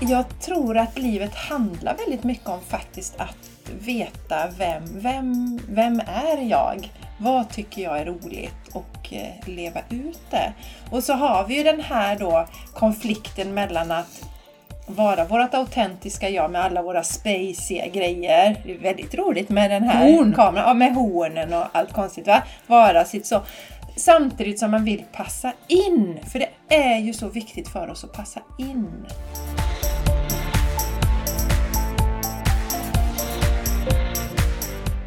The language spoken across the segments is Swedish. Jag tror att livet handlar väldigt mycket om faktiskt att veta vem, vem, vem är jag? Vad tycker jag är roligt? Och eh, leva ut det. Och så har vi ju den här då konflikten mellan att vara vårt autentiska jag med alla våra spaciga grejer. Det är väldigt roligt med den här Horn. kameran. Ja, med hornen och allt konstigt va? Vara sitt så. Samtidigt som man vill passa in. För det är ju så viktigt för oss att passa in.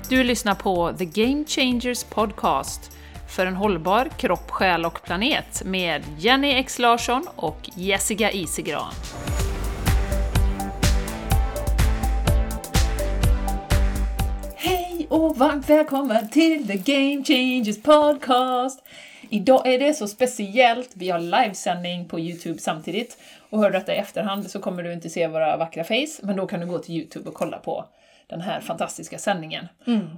Du lyssnar på The Game Changers Podcast för en hållbar kropp, själ och planet med Jenny X Larsson och Jessica Isegran. Hej och varmt välkommen till The Game Changers Podcast! Idag är det så speciellt, vi har livesändning på Youtube samtidigt och hör du detta i efterhand så kommer du inte se våra vackra face, men då kan du gå till Youtube och kolla på den här fantastiska sändningen.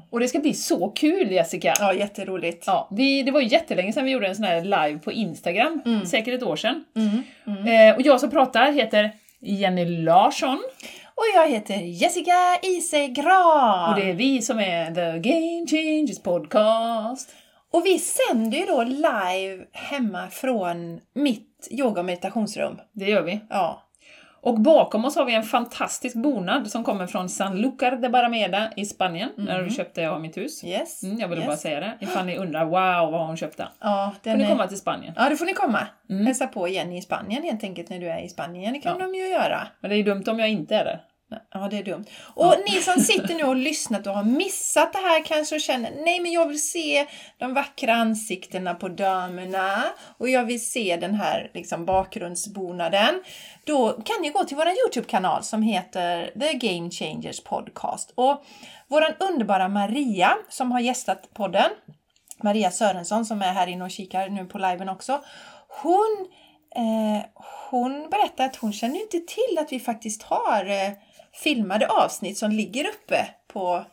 Och det ska bli så kul Jessica! Mm. Ja, jätteroligt. Mm. Ja, vi, det var ju jättelänge sedan vi gjorde en sån här live på Instagram, säkert ett år sedan. Eh, och jag som pratar heter Jenny Larsson Och jag heter Jessica Isegran! och det är vi som är The Game Changers Podcast. Och vi sänder ju då live hemma från mitt yoga och meditationsrum. Det gör vi. Ja. Och bakom oss har vi en fantastisk bonad som kommer från San Lucar de Barameda i Spanien. Där köpte jag mitt hus. Mhm. Yes. Mm, jag ville yes. bara säga det, ifall ni undrar wow vad har hon köpt där? Ja, Får den ni är... komma Mm. till Spanien. Ja, då får ni komma. Hälsa på Jenny i Spanien helt enkelt när du är i Spanien. Det kan de ju göra. Men det är ju dumt om jag inte är där. Ja, det är dumt. Och ni som sitter nu och lyssnat och har missat det här kanske och känner nej men jag vill se de vackra ansiktena på damerna och jag vill se den här liksom, bakgrundsbonaden. Då kan ni gå till vår Youtube-kanal som heter The Game Changers Podcast. Och vår underbara Maria som har gästat podden, Maria Sörensson som är här inne och kikar nu på liven också. Hon Eh, hon berättar att hon känner inte till att vi faktiskt har eh, filmade avsnitt som ligger uppe på,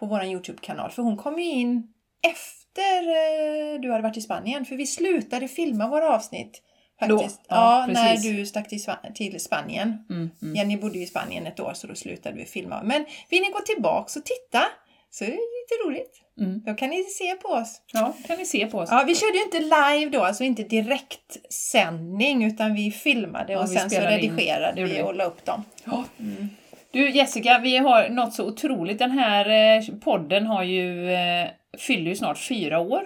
på vår Youtube-kanal. För hon kom ju in efter eh, du hade varit i Spanien. För vi slutade filma våra avsnitt. Faktiskt. Då? Ja, ja, när precis. du stack till, Sva- till Spanien. Mm, mm. Jenny bodde ju i Spanien ett år så då slutade vi filma. Men vill ni gå tillbaks och titta så är det lite roligt. Mm. Då kan ni se på oss. Ja, kan ni se på oss. Ja, vi körde ju inte live då, alltså inte direkt sändning utan vi filmade Ja, och vi sen så spelade in. redigerade Det gjorde vi vi. och la upp dem. Ja. Mm. Du Jessica, vi har något så otroligt. Den här eh, podden har ju, eh, fyller ju snart fyra år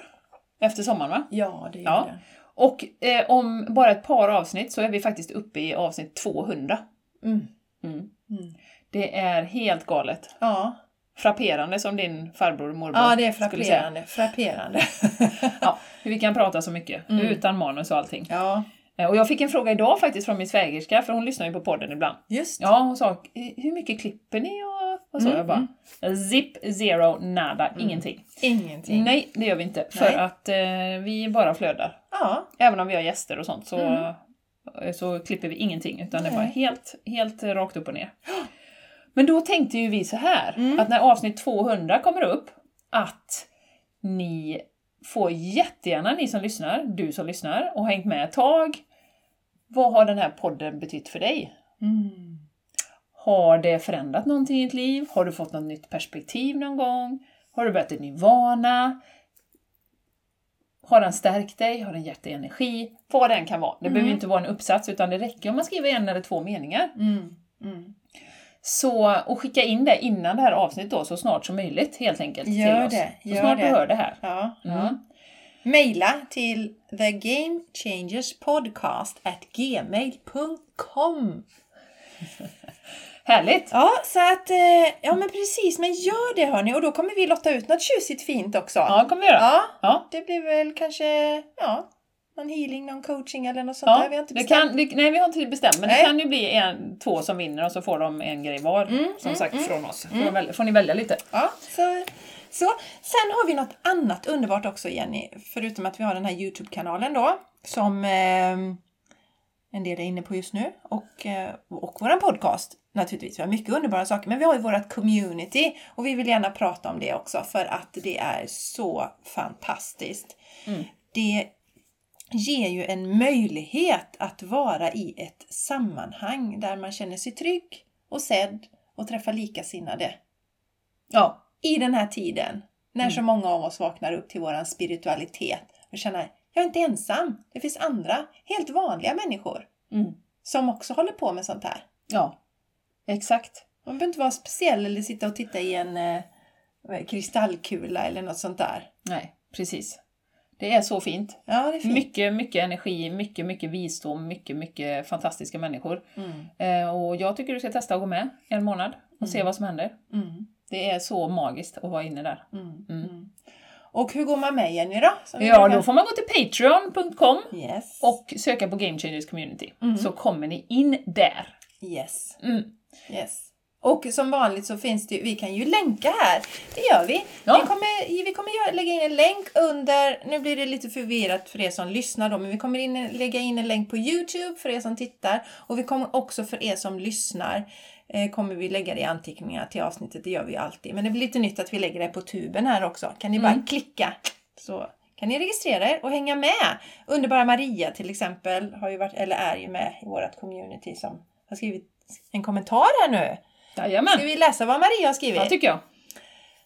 efter sommaren va? Ja, det gjorde Ja. Och eh, om bara ett par avsnitt så är vi faktiskt uppe i avsnitt 200. Mm. Mm. Mm. Det är helt galet. Ja. Frapperande som din farbror och morbror ja, det är skulle säga. frapperande. Frapperande. Ja, hur vi kan prata så mycket Mm. utan manus och allting. ja, Eh, Och jag fick en fråga idag faktiskt från min svägerska, för hon lyssnar ju på podden ibland. just Ja, hon sa "Eh, hur mycket klipper ni? Och, och så Mm, jag bara zip, zero, nada, ingenting. Ingenting. Nej, det gör vi inte. För Nej. att eh, vi bara flödar. Ja, Även om vi har gäster och sånt så, Mm. eh, så klipper vi ingenting. Utan det är Nej. bara helt, helt eh, rakt upp och ner. Men då tänkte ju vi så här, Mm. att när avsnitt 200 kommer upp, att ni får jättegärna, ni som lyssnar, du som lyssnar och hängt med ett tag, vad har den här podden betytt för dig? mm. Har det förändrat någonting i ditt liv? Har du fått något nytt perspektiv någon gång? Har du börjat en ny vana? Har den stärkt dig? Har den gett dig energi? Vad den kan vara. Det behöver ju inte vara en uppsats utan det räcker om man skriver en eller två meningar. Mm. Mm. Så, och skicka in det innan det här avsnittet då, så snart som möjligt helt enkelt. Gör till oss. det, Så gör snart det. du hör det här. ja, Mm. ja. Mejla till thegamechangerspodcast@gmail.com. Härligt! Ja, så att, eh, ja men precis, men gör det hörni och då kommer vi lotta ut något tjusigt fint också. Ja, det kommer vi göra. Ja. ja. Ja. Det blir väl kanske ja, någon healing, någon coaching eller något sånt där. Vi har inte det bestämt. kan, det, nej, vi har inte bestämt, men Nej. Mm, det kan ju bli en, två som vinner och så får de en grej var, som sagt, från oss. Får, de välja, får ni välja lite. Ja, så, så. Sen har vi något annat underbart också Jenny, förutom att vi har den här Youtube-kanalen då, som ehm, en del är inne på just nu, och, eh, och vår podcast naturligtvis. Vi har mycket underbara saker, men vi har ju vårt community och vi vill gärna prata om det också för att det är så fantastiskt. Det ger ju en möjlighet att vara i ett sammanhang där man känner sig trygg och sedd och träffar likasinnade. Ja, I den här tiden, när Mm. så många av oss vaknar upp till våran spiritualitet och känner jag är inte ensam, det finns andra, helt vanliga människor mm. som också håller på med sånt här. ja. exakt. Man behöver inte vara speciell eller sitta och titta i en eh, kristallkula eller något sånt där. Nej, precis. Det är så fint. Ja, det är fint. Mycket, mycket energi, mycket, mycket visdom, mycket, mycket fantastiska människor. Mm, Eh, och jag tycker du ska testa att gå med en månad och se vad som händer. mm, Det är så magiskt att vara inne där. mm, mm. Och hur går man med Jenny då? Som vi Ja, brukar- då får man gå till patreon.com Yes. och söka på Game Changers Community. Mm. Så kommer ni in där. Yes. Mm. Yes. Och som vanligt så finns det ju, vi kan ju länka här. Det gör vi. Ja. Vi kommer, vi kommer göra, lägga in en länk under, nu blir det lite förvirrat för er som lyssnar då, men vi kommer in, lägga in en länk på Youtube för er som tittar. Och vi kommer också för er som lyssnar, eh, kommer vi lägga det i anteckningar till avsnittet, det gör vi ju alltid. Men det blir lite nytt att vi lägger det på tuben här också. Kan ni bara klicka så kan ni registrera er och hänga med. Underbara Maria till exempel har ju varit, eller är ju med i vårt community som har skrivit en kommentar här nu. Ska Jajamän, vi läsa vad Maria har det skrivit? tycker jag.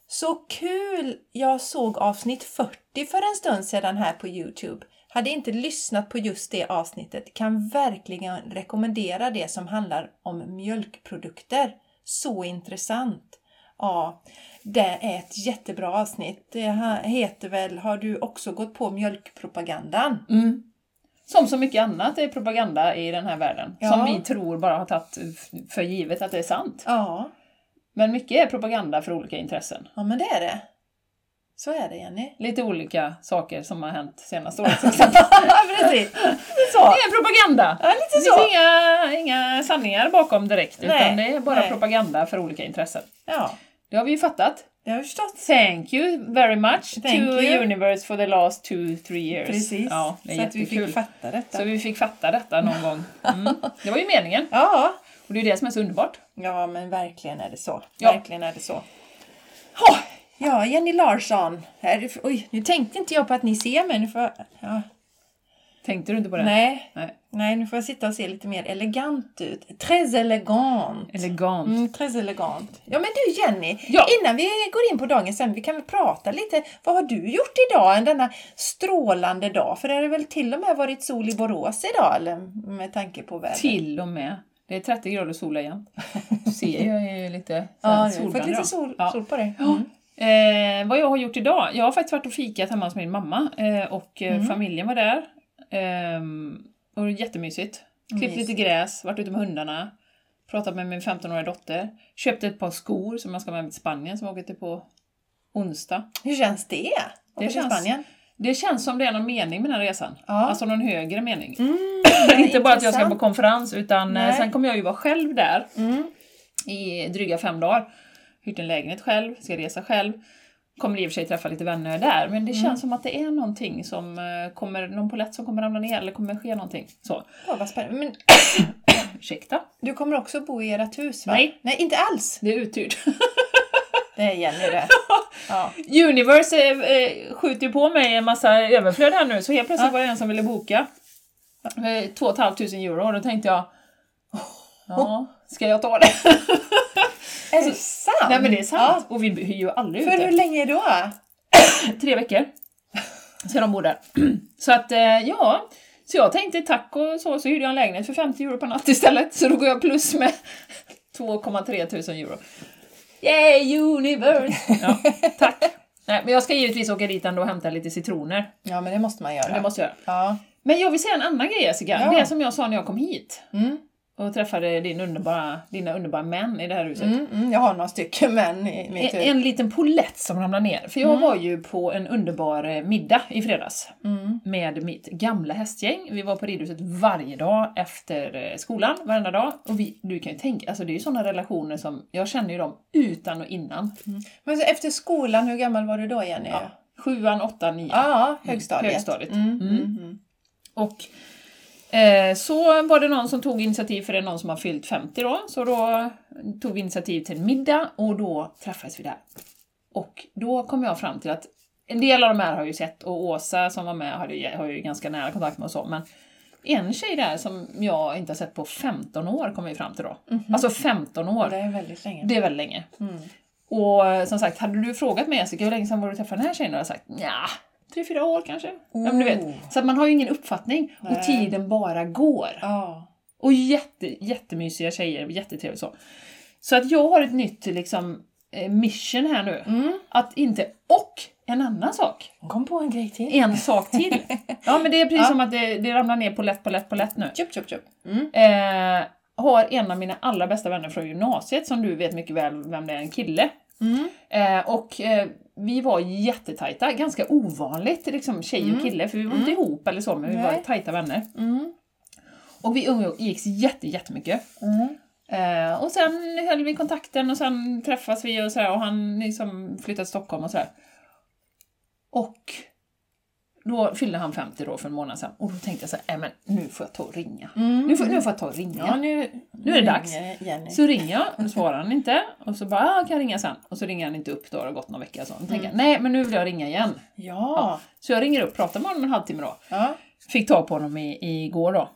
Så kul! Jag såg avsnitt 40 för en stund sedan här på Youtube. Hade inte lyssnat på just det avsnittet. Kan verkligen rekommendera det som handlar om mjölkprodukter. Så intressant! Ja, det är ett jättebra avsnitt. Det ha- heter väl Har du också gått på mjölkpropagandan? Mm. Som så mycket annat är propaganda i den här världen. Ja. Som vi tror bara har tagit f- för givet att det är sant. Ja, Men mycket är propaganda för olika intressen. ja men det är det. Så är det Jenny. Lite olika saker som har hänt senaste året till exempel. Precis! Det är propaganda! Ja, lite Det så. finns inga, inga sanningar bakom direkt, Nej, utan det är bara nej. propaganda för olika intressen. Ja, Det har vi ju fattat. det har jag förstått. Thank you very much Thank to you. universe for the last two, three years. Precis. Ja, det är så att vi jättekul. fick fatta detta. Så vi fick fatta detta någon gång. Mm. Det var ju meningen. Ja, Och det är ju det som är så underbart. Ja, men verkligen är det så. Ja. Verkligen är det så. Ja, Jenny Larsson. Här, oj, nu tänkte inte jag på att ni ser mig. Nu får, jag- ja, Tänkte du inte på det? nej, Nej. nej, nu får jag sitta och se lite mer elegant ut. Très elegant. Elegant. Mm, très elegant. Ja, men du Jenny, Ja. innan vi går in på dagens ämne, vi kan väl prata lite. Vad har du gjort idag, denna strålande dag? För det har väl till och med varit sol i Borås idag, eller med tanke på vädret? Till och med. Det är 30 grader och solar jämt. Du ser, jag är ju lite så här Ja, du har solbränd fått lite idag. sol, Ja. sol på dig. Mm. Eh, vad jag har gjort idag? Jag har faktiskt varit och fikat hemma hos min mamma eh, och eh, familjen var där. Ehm, och det var jättemysigt. Klippt Mysigt. lite gräs, varit ute med hundarna, pratat med min 15-åriga dotter. Köpte ett par skor som jag ska med mig till Spanien som jag åker till på onsdag. Hur känns det? Åka till känns- Spanien? Det känns som det är någon mening med den här resan. Ja. Alltså någon högre mening. Mm. Inte bara att jag ska på konferens utan eh, Nej. sen kommer jag ju vara själv där Mm. i dryga fem dagar. Hyrt en lägenhet själv, ska resa själv. Kommer i och för sig träffa lite vänner där, men det känns som att det är någonting som eh, kommer, någon polett som kommer ramla ner eller kommer ske någonting. Så, Ja, vad spännande. Men ursäkta. du kommer också bo i ert hus va? Nej. Nej, inte alls. Det är uthyrt. Det är Jenny det. Ja. Universe eh, eh, skjuter ju på mig en massa överflöd här nu, så helt plötsligt var det en som ville boka. Eh, 2 500 euro, och då tänkte jag, ja, ska jag ta det? Är det sant? Nej men det är sant, och vi hyr ju aldrig ut För det. hur länge då? tre veckor. Så de bor där. Så att, eh, ja. Så jag tänkte tack och så, så hyrde jag en lägenhet för 50 euro per natt istället. Så då går jag plus med 2,3 tusen euro. Yay universe! Ja, tack! Nej, men jag ska givetvis åka dit ändå och hämta lite citroner. Ja, men det måste man göra. Det måste jag göra. Ja. Men jag vill säga en annan grej Jessica. Ja. Det som jag sa när jag kom hit Mm. och träffade din underbara, dina underbara män i det här huset. Mm, mm. Jag har några stycken män i mitt En, hus. en liten polett som ramlade ner. För jag var ju på en underbar eh, middag i fredags Mm. med mitt gamla hästgäng. Vi var på ridhuset varje dag efter eh, skolan, varenda dag. Och vi, du kan ju tänka, alltså det är ju sådana relationer som, jag känner ju dem utan och innan. Men så efter skolan, hur gammal var du då Jenny? Ja, Sjuan, åttan, nian. högstadiet. högstadiet. Mm. Mm. Mm. Och eh, så var det någon som tog initiativ, för det är någon som har fyllt 50 då, så då tog vi initiativ till en middag och då träffades vi där. Och då kom jag fram till att en del av de här har jag ju sett och Åsa som var med har ju, har ju ganska nära kontakt med och så, men en tjej där som jag inte har sett på 15 år kom vi fram till då. Alltså 15 år, Det är väldigt länge. det är väldigt länge. Mm. Och eh, som sagt, hade du frågat mig Jessica hur länge sedan var du träffade den här tjejen? Då hade jag sagt ja, tre, fyra år kanske. Ja, men du Oh. vet. Så att man har ju ingen uppfattning Nej. och tiden bara går. Ja. Och jätte, jättemysiga tjejer, jättetrevligt så. Så att jag har ett nytt liksom, eh, mission här nu. Mm. Att inte och en annan sak. Hon kom på en grej till. En sak till. Ja men det är precis som att det, det ramlar ner på lätt på lätt på lätt nu. Tjup, tjup, tjup. Mm. Eh, har en av mina allra bästa vänner från gymnasiet som du vet mycket väl vem det är, en kille. Mm. Eh, och eh, vi var jättetajta, ganska ovanligt liksom tjej och kille för vi var inte ihop eller så men vi var Mm. Nej. tajta vänner. Mm. Och vi umgicks jätte, jättemycket. Mm. Eh, och sen höll vi kontakten och sen träffas vi och sådär och han liksom flyttade till Stockholm och sådär. Och då fyllde han 50 då för en månad sedan och då tänkte jag så här, "Nej, men nu får jag ta och ringa. Mm. Nu, får, nu får jag ta och ringa. Ja, nu, Nu är det dags. ringer Jenny. Så ringer jag, och då svarar han inte. Och så bara, ah, kan jag ringa sen? Och så ringer han inte upp då, det har gått någon vecka. Så. Då tänker Mm. jag, nej men nu vill jag ringa igen. Ja. Så jag ringer upp, pratar med honom en halvtimme då. ja. Fick tag på honom i, igår då.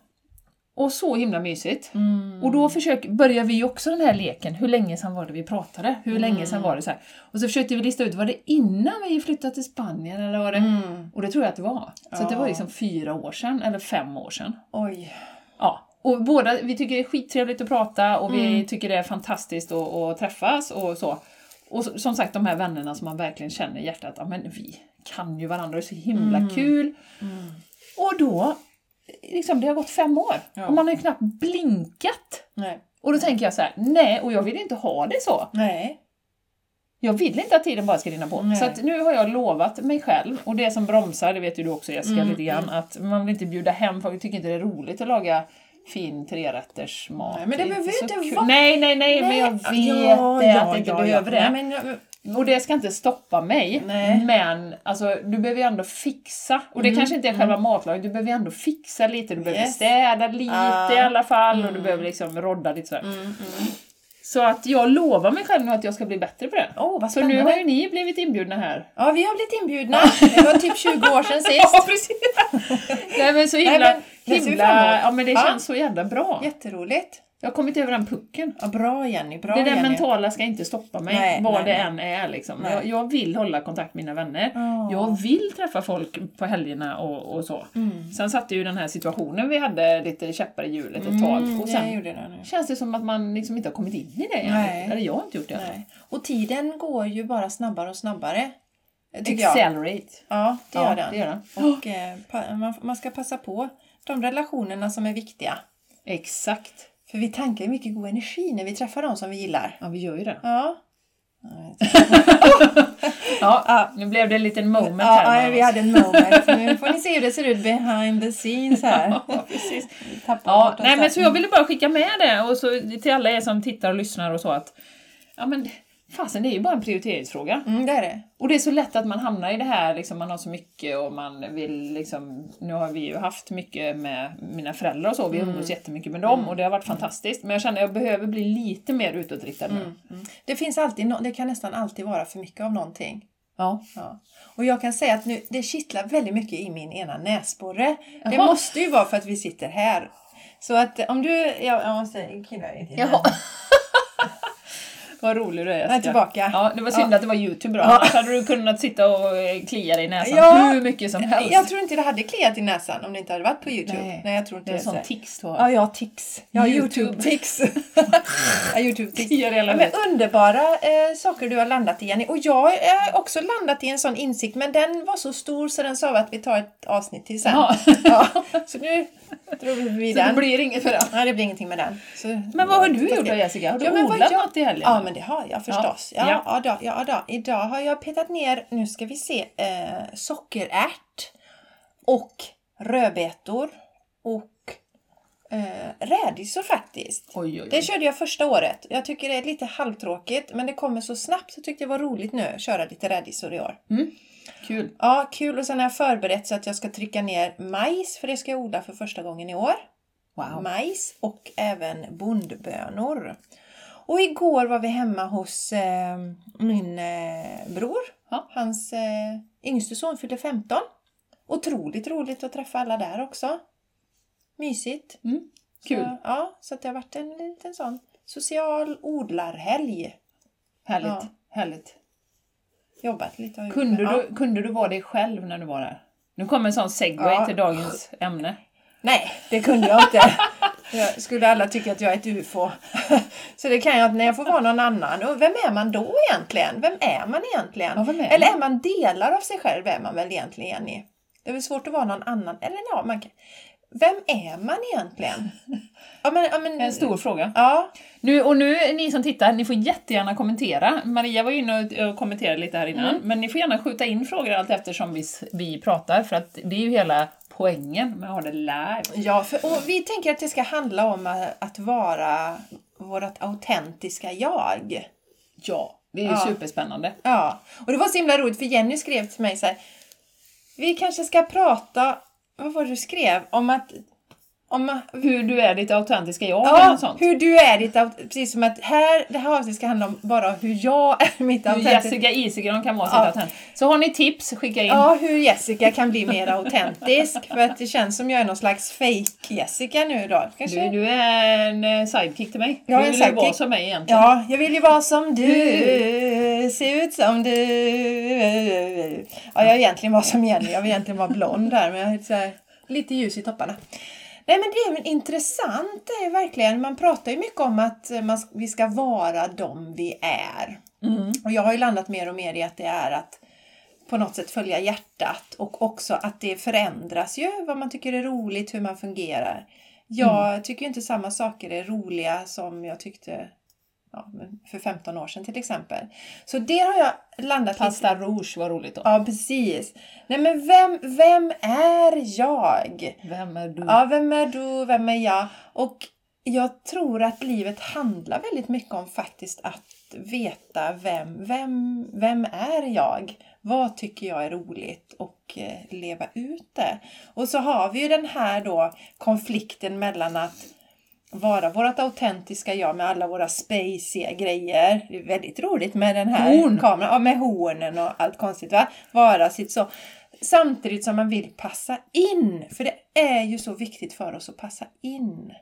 Och så himla mysigt. Mm. Och då försök, börjar vi ju också den här leken, hur länge sedan var det vi pratade? Hur länge Mm. sedan var det så här? Och så försökte vi lista ut, var det innan vi flyttade till Spanien eller var det? Mm. Och det tror jag att det var. Så att det var Ja. liksom fyra år sedan, eller fem år sedan. Oj. Ja, och båda, vi tycker det är skittrevligt att prata och vi tycker det är fantastiskt att, att träffas och så. Och så- som sagt, de här vännerna som man verkligen känner i hjärtat, ja men vi kan ju varandra, det är så himla kul. Mm. Och då, liksom det har gått fem år Ja. och man har ju knappt blinkat. Nej. Och då tänker jag så här: nej, och jag vill inte ha det så. Nej. Jag vill inte att tiden bara ska rinna på. Nej. Så att nu har jag lovat mig själv, och det som bromsar, det vet ju du också Jessica Mm. lite grann, att man vill inte bjuda hem för vi tycker inte det är roligt att laga fin trerätters mat. Nej, men det är behöver så inte kul. vara- Nej, nej, nej, men jag Ja, vet ja, det, att ja, det inte ja, behöver ja. det. Nej, men, Och det ska inte stoppa mig, Nej. Mm, men alltså, du behöver ju ändå fixa. Och det kanske inte är själva matlagningen, du behöver ju ändå fixa lite, du behöver Yes. städa lite Ah. Mm, i alla fall och du behöver liksom rodda lite sådär. Så att jag lovar mig själv nu att jag ska bli bättre på det. Åh, vad så nu spännande. har ju ni blivit inbjudna här. ja, vi har blivit inbjudna. Det var typ 20 år sedan sist. Ja, precis! Nej men så himla, Nej, men det ser vi fram himla, emot. ja men det Ja. känns så jävla bra. Jätteroligt. Jag har kommit över den pucken. Ja, bra Jenny, bra det där Jenny. mentala ska inte stoppa mig, Nej, vad nej, det nej. än är. Liksom. Nej. Jag, jag vill hålla kontakt med mina vänner. Ja. Jag vill träffa folk på helgerna och, och så. Mm. Sen satte ju den här situationen vi hade lite käppar i hjulet ett tag. jag Och sen gjorde Mm, det nu. känns det som att man liksom inte har kommit in i det än. Nej. Eller jag har inte gjort det. Nej. Och tiden går ju bara snabbare och snabbare. Tycker jag. Accelerate. Ja, det Ja, gör den. det gör den. Och eh, pa- man, man ska passa på de relationerna som är viktiga. Exakt. För vi tankar ju mycket god energi när vi träffar de som vi gillar. Ja, vi gör ju det. Ja, Ja, ah, nu blev det en liten moment här. ja, ja mellan vi oss. hade en moment. Nu får ni se hur det ser ut behind the scenes här. Ja, precis. Vi tappar Ja, bort oss nej, här. men så jag ville bara skicka med det och så till alla er som tittar och lyssnar och så att ja, men fasen, det är ju bara en prioriteringsfråga. Mm, det är det. Och det är så lätt att man hamnar i det här, liksom, man har så mycket och man vill liksom, nu har vi ju haft mycket med mina föräldrar och så, Mm. vi umgås jättemycket med dem och det har varit fantastiskt. Men jag känner att jag behöver bli lite mer utåtriktad nu. Mm. Det finns alltid nå- det kan nästan alltid vara för mycket av någonting. Ja. Ja. Och jag kan säga att nu, det kittlar väldigt mycket i min ena näsborre. Det Jaha. måste ju vara för att vi sitter här. Så att eh, om du... Jag, jag måste killa i din Jaha. Vad rolig du är Jag är Jessica. tillbaka. Ja, det var synd att det var Youtube då, Ja. annars hade du kunnat sitta och eh, klia dig i näsan Ja. hur mycket som helst. Jag tror inte det hade kliat i näsan om det inte hade varit på Youtube. Nej. Nej, jag tror inte det är en sån så. tics du har. Ja, jag har tics. Jag har YouTube. Youtube-tics. ja, Youtube-tics. Kliar i hela Ja, men huvudet. underbara eh, saker du har landat i Jenny. Och jag har eh, också landat i en sån insikt men den var så stor så den sa vi att vi tar ett avsnitt till sen. Ja. Ja, så nu drog vi förbi Så det den. blir inget för det. Nej, det blir ingenting med den. Så, Men vad har du gjort då Jessica? Har du Ja, men vad odlat jag- något i helgen? Ja, men det har jag förstås. Ja. Ja, ja. då, ja då. Idag har jag petat ner, nu ska vi se, eh, sockerärt och rödbetor och eh, rädisor faktiskt. Oj, oj, oj. Det körde jag första året. Jag tycker det är lite halvtråkigt, men det kommer så snabbt så tyckte jag var roligt nu, köra lite rädisor i år. Kul. Ja, kul. Och sen har jag förberett så att jag ska trycka ner majs, för det ska jag odla för första gången i år Wow. majs och även bondbönor. Och igår var vi hemma hos eh, min eh, bror Ja. Hans eh, yngste son fyllde 15. Otroligt roligt att träffa alla där också. Mysigt. Mm. Kul. Så, ja, så att det har varit en liten sån social odlarhelg. Härligt. Ja. Härligt. Jobbat lite. har jag gjort, Kunde, men, ja. du, kunde du vara dig själv när du var där? Nu kommer en sån segway Ja. till dagens ämne. Nej, det kunde jag inte. Jag skulle alla tycka att jag är ett UFO. Så det kan jag inte när jag får vara någon annan. Och vem är man då egentligen? Vem är man egentligen? Ja, vem är Eller är man delar av sig själv är man väl egentligen, Jenny? Det är väl svårt att vara någon annan. Eller ja, man kan... Vem är man egentligen? Ja, men, ja, men... En stor fråga. Ja, Nu, och nu, ni som tittar, ni får jättegärna kommentera. Maria var ju inne och- och kommenterade lite här innan, men ni får gärna skjuta in frågor allt eftersom vi, s- vi pratar, för att det är ju hela poängen med att ha det live. ja för, och vi tänker att det ska handla om eh, att vara vårt autentiska jag. Ja, det är ju Ja. superspännande. Ja, och det var så himla roligt för Jenny skrev till mig så här. Vi kanske ska prata, vad var det du skrev? Om att... Om att Hur du är ditt autentiska jag eller något ja, sånt. hur du är ditt aut- Precis som att här, det här avsnittet ska handla om bara hur jag är mitt Hur autentiska... Jessica Isigran kan vara sitt Ja. autent. Så har ni tips, skicka in. Ja, hur Jessica kan bli mer autentisk. För att det känns som jag är någon slags fake jessica nu då. Kanske... Du, du är en eh, sidekick till mig. Jag är du en vill ju vara sidekick. som mig egentligen. Ja, jag vill ju vara som du, se ut som du. Ja, jag vill egentligen vara som Jenny, jag vill egentligen vara blond där, men jag är så här, lite ljus i topparna. Nej men det är ju intressant, det är verkligen. Man pratar ju mycket om att man, vi ska vara de vi är. Mm. Och jag har ju landat mer och mer i att det är att på något sätt följa hjärtat och också att det förändras ju vad man tycker är roligt, hur man fungerar. Jag tycker ju inte samma saker är roliga som jag tyckte ja, men för 15 år sedan till exempel. Så det har jag landat lite... Pasta rouge var roligt då. Ja, precis. Nej men vem, vem är jag? Vem är du? Ja, vem är du? Vem är jag? Och jag tror att livet handlar väldigt mycket om faktiskt att veta vem, vem, vem är jag? Vad tycker jag är roligt och eh, leva ut det. Och så har vi ju den här då konflikten mellan att vara vårt autentiska jag med alla våra spaciga grejer. Det är väldigt roligt med den här Horn. kameran, ja, med hornen och allt konstigt va? Vara sitt så. Samtidigt som man vill passa in, för det är ju så viktigt för oss att passa in.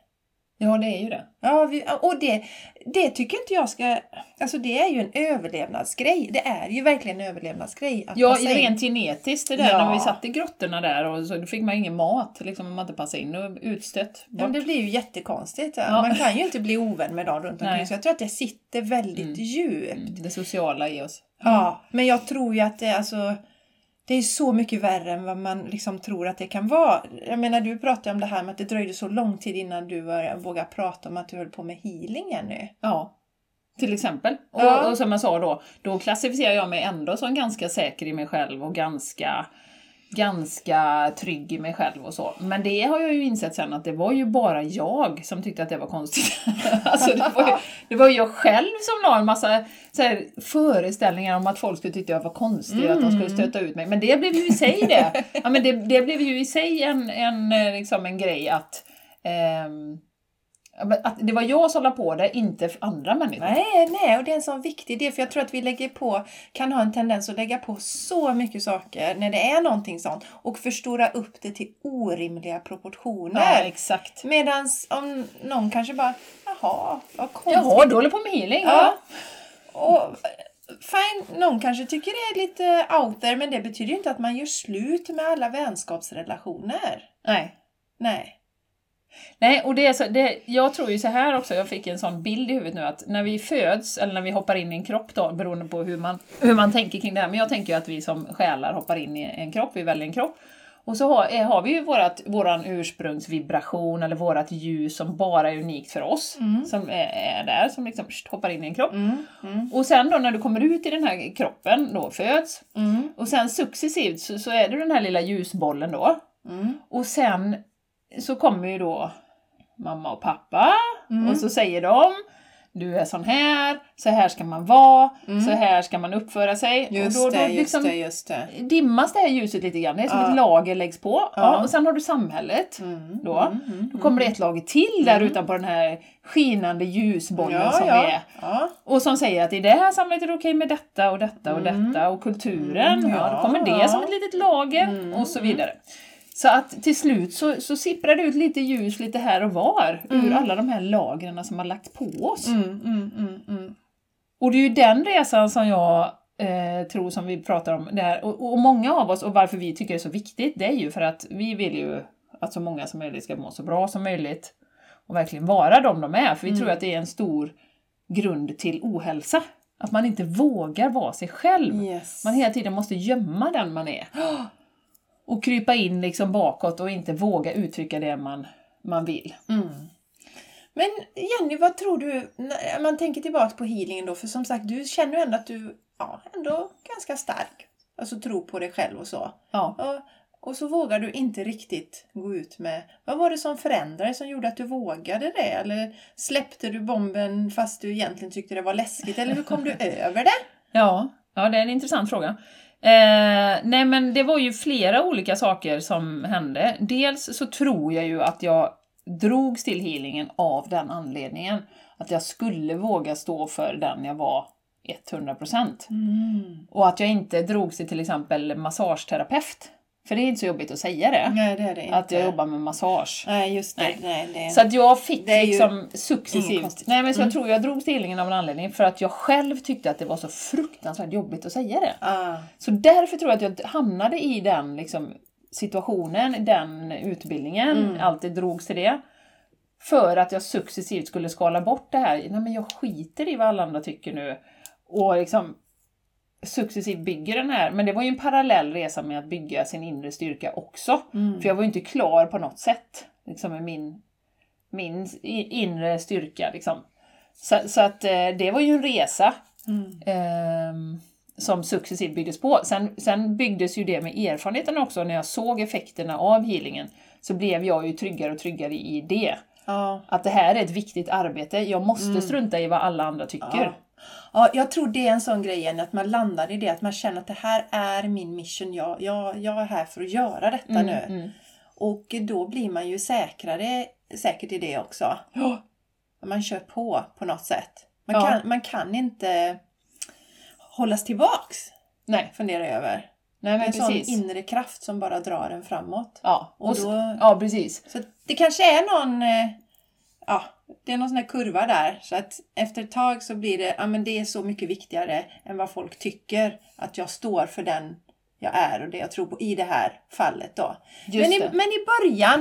Ja, det är ju det. Ja, vi, och det, det tycker inte jag ska... Alltså det är ju en överlevnadsgrej. Det är ju verkligen en överlevnadsgrej att Ja, passa in. rent genetiskt det där Ja. när vi satt i grottorna där och så då fick man ingen mat liksom om man inte passade in och utstött. Ja, men Bort. det blir ju jättekonstigt. Ja. Man kan ju inte bli ovän med dem runt Nej. Mm. omkring. Så jag tror att det sitter väldigt djupt. Det sociala i oss. Ja, men jag tror ju att det, alltså, det är så mycket värre än vad man liksom tror att det kan vara. Jag menar, du pratade om det här med att det dröjde så lång tid innan du var- vågade prata om att du höll på med healing ännu. Ja. Till exempel. Och, Ja. och som jag sa då, då klassificerar jag mig ändå som ganska säker i mig själv och ganska, ganska trygg i mig själv och så. Men det har jag ju insett sen att det var ju bara jag som tyckte att det var konstigt. alltså det var ju, det var ju jag själv som la en massa så här, föreställningar om att folk skulle tycka jag var konstig och att de skulle stöta ut mig. Men det blev ju i sig det. ja, men det, det blev ju i sig en, en, eh, liksom en grej att ehm, Ja, men Att det var jag som la på det, inte för andra människor. Nej, nej, och det är en sån viktig del för jag tror att vi lägger på, kan ha en tendens att lägga på så mycket saker när det är någonting sånt och förstora upp det till orimliga Ja, proportioner. exakt. Medan om någon kanske bara, jaha, vad konstigt. Jaha, du håller på med healing? Ja. Och, fine, någon kanske tycker det är lite out there, men det betyder ju inte att man gör slut med alla vänskapsrelationer. Nej. Nej. Nej, och det är så, det, jag tror ju så här också, jag fick en sån bild i huvudet nu att när vi föds, eller när vi hoppar in i en kropp då, beroende på hur man, hur man tänker kring det här, men jag tänker ju att vi som själar hoppar in i en kropp, vi väljer en kropp. Och så har, eh, har vi ju vårat, våran ursprungsvibration eller vårat ljus som bara är unikt för oss, Mm. som är, är där, som liksom pst, hoppar in i en kropp. mm, Och sen då när du kommer ut i den här kroppen, då föds, mm, och sen successivt så, så är du den här lilla ljusbollen då. mm. Och sen Mm. så kommer ju då mamma och pappa och så säger de du är sån här, så här ska man vara, Mm. så här ska man uppföra sig. Just och då, då det, just liksom det, just det. dimmas det här ljuset lite grann, det är som Ja. ett lager läggs på. Ja. Ja. och sen har du samhället. Mm, Då, mm, mm, då kommer det ett lager till där utan på den här skinande ljusbollen ja, som ja, vi är. Ja. Och som säger att i det här samhället är det okej med detta och detta och detta och kulturen. Mm, ja, då ja, kommer det ja. som ett litet lager och så vidare. Så att till slut så, så sipprar det ut lite ljus lite här och var ur alla de här lagren som har lagt på oss. Mm, mm, mm, mm. Och det är ju den resan som jag eh, tror som vi pratar om där. Och, och många av oss, och varför vi tycker det är så viktigt, det är ju för att vi vill ju att så många som möjligt ska må så bra som möjligt och verkligen vara de de är. För vi tror att det är en stor grund till ohälsa. Att man inte vågar vara sig själv. Yes. Man hela tiden måste gömma den man är. Och krypa in liksom bakåt och inte våga uttrycka det man, man vill. Mm. Men Jenny, vad tror du, när man tänker tillbaka på healingen då, för som sagt, du känner ju ändå att du ja, ändå ganska stark. Alltså tro på dig själv och så. Ja. Och, och så vågar du inte riktigt gå ut med... Vad var det som förändrades som gjorde att du vågade det? Eller släppte du bomben fast du egentligen tyckte det var läskigt? Eller hur kom du över det? Ja, ja det är en intressant fråga. Eh, nej men det var ju flera olika saker som hände. Dels så tror jag ju att jag drogs till healingen av den anledningen. Att jag skulle våga stå för den jag var 100%. Och att jag inte drogs till till exempel massageterapeut. För det är inte så jobbigt att säga det. Nej, det är det inte. Att jag jobbar med massage. Nej, just det. Nej. Nej. Nej, det. Så att jag fick Det är ju Mm. liksom inget successivt... konstigt. Nej men så jag tror jag drogs till healingen av en anledning. För att jag själv tyckte att det var så fruktansvärt jobbigt att säga det. Ah, Så därför tror jag att jag hamnade i den liksom, situationen, den utbildningen, alltid drogs till det. För att jag successivt skulle skala bort det här, nej men jag skiter i vad alla andra tycker nu. Och liksom successivt bygger den här, men det var ju en parallell resa med att bygga sin inre styrka också. Mm. För jag var ju inte klar på något sätt, liksom med min, min i- inre styrka. Liksom. Så, så att eh, det var ju en resa Mm. ehm, som successivt byggdes på. Sen, sen byggdes ju det med erfarenheten också, när jag såg effekterna av healingen så blev jag ju tryggare och tryggare i det. ja. Att det här är ett viktigt arbete, jag måste Mm. strunta i vad alla andra tycker. Ja, jag tror det är en sån grej igen, att man landar i det, att man känner att det här är min mission, jag, jag, jag är här för att göra detta Mm, nu. Och då blir man ju säkrare säkert i det också. Ja. Man kör på på något sätt. Man, Ja. kan, man kan inte hållas tillbaks, Nej, funderar jag över. nej Det är men en sån precis. inre kraft som bara drar en framåt. Ja, Och och s- då- ja, precis. Så det kanske är någon, eh, ja, det är någon sån här kurva där. Så att efter ett tag så blir det, ja men det är så mycket viktigare än vad folk tycker. Att jag står för den jag är och det jag tror på i det här fallet då. Just Men i, det. men i början,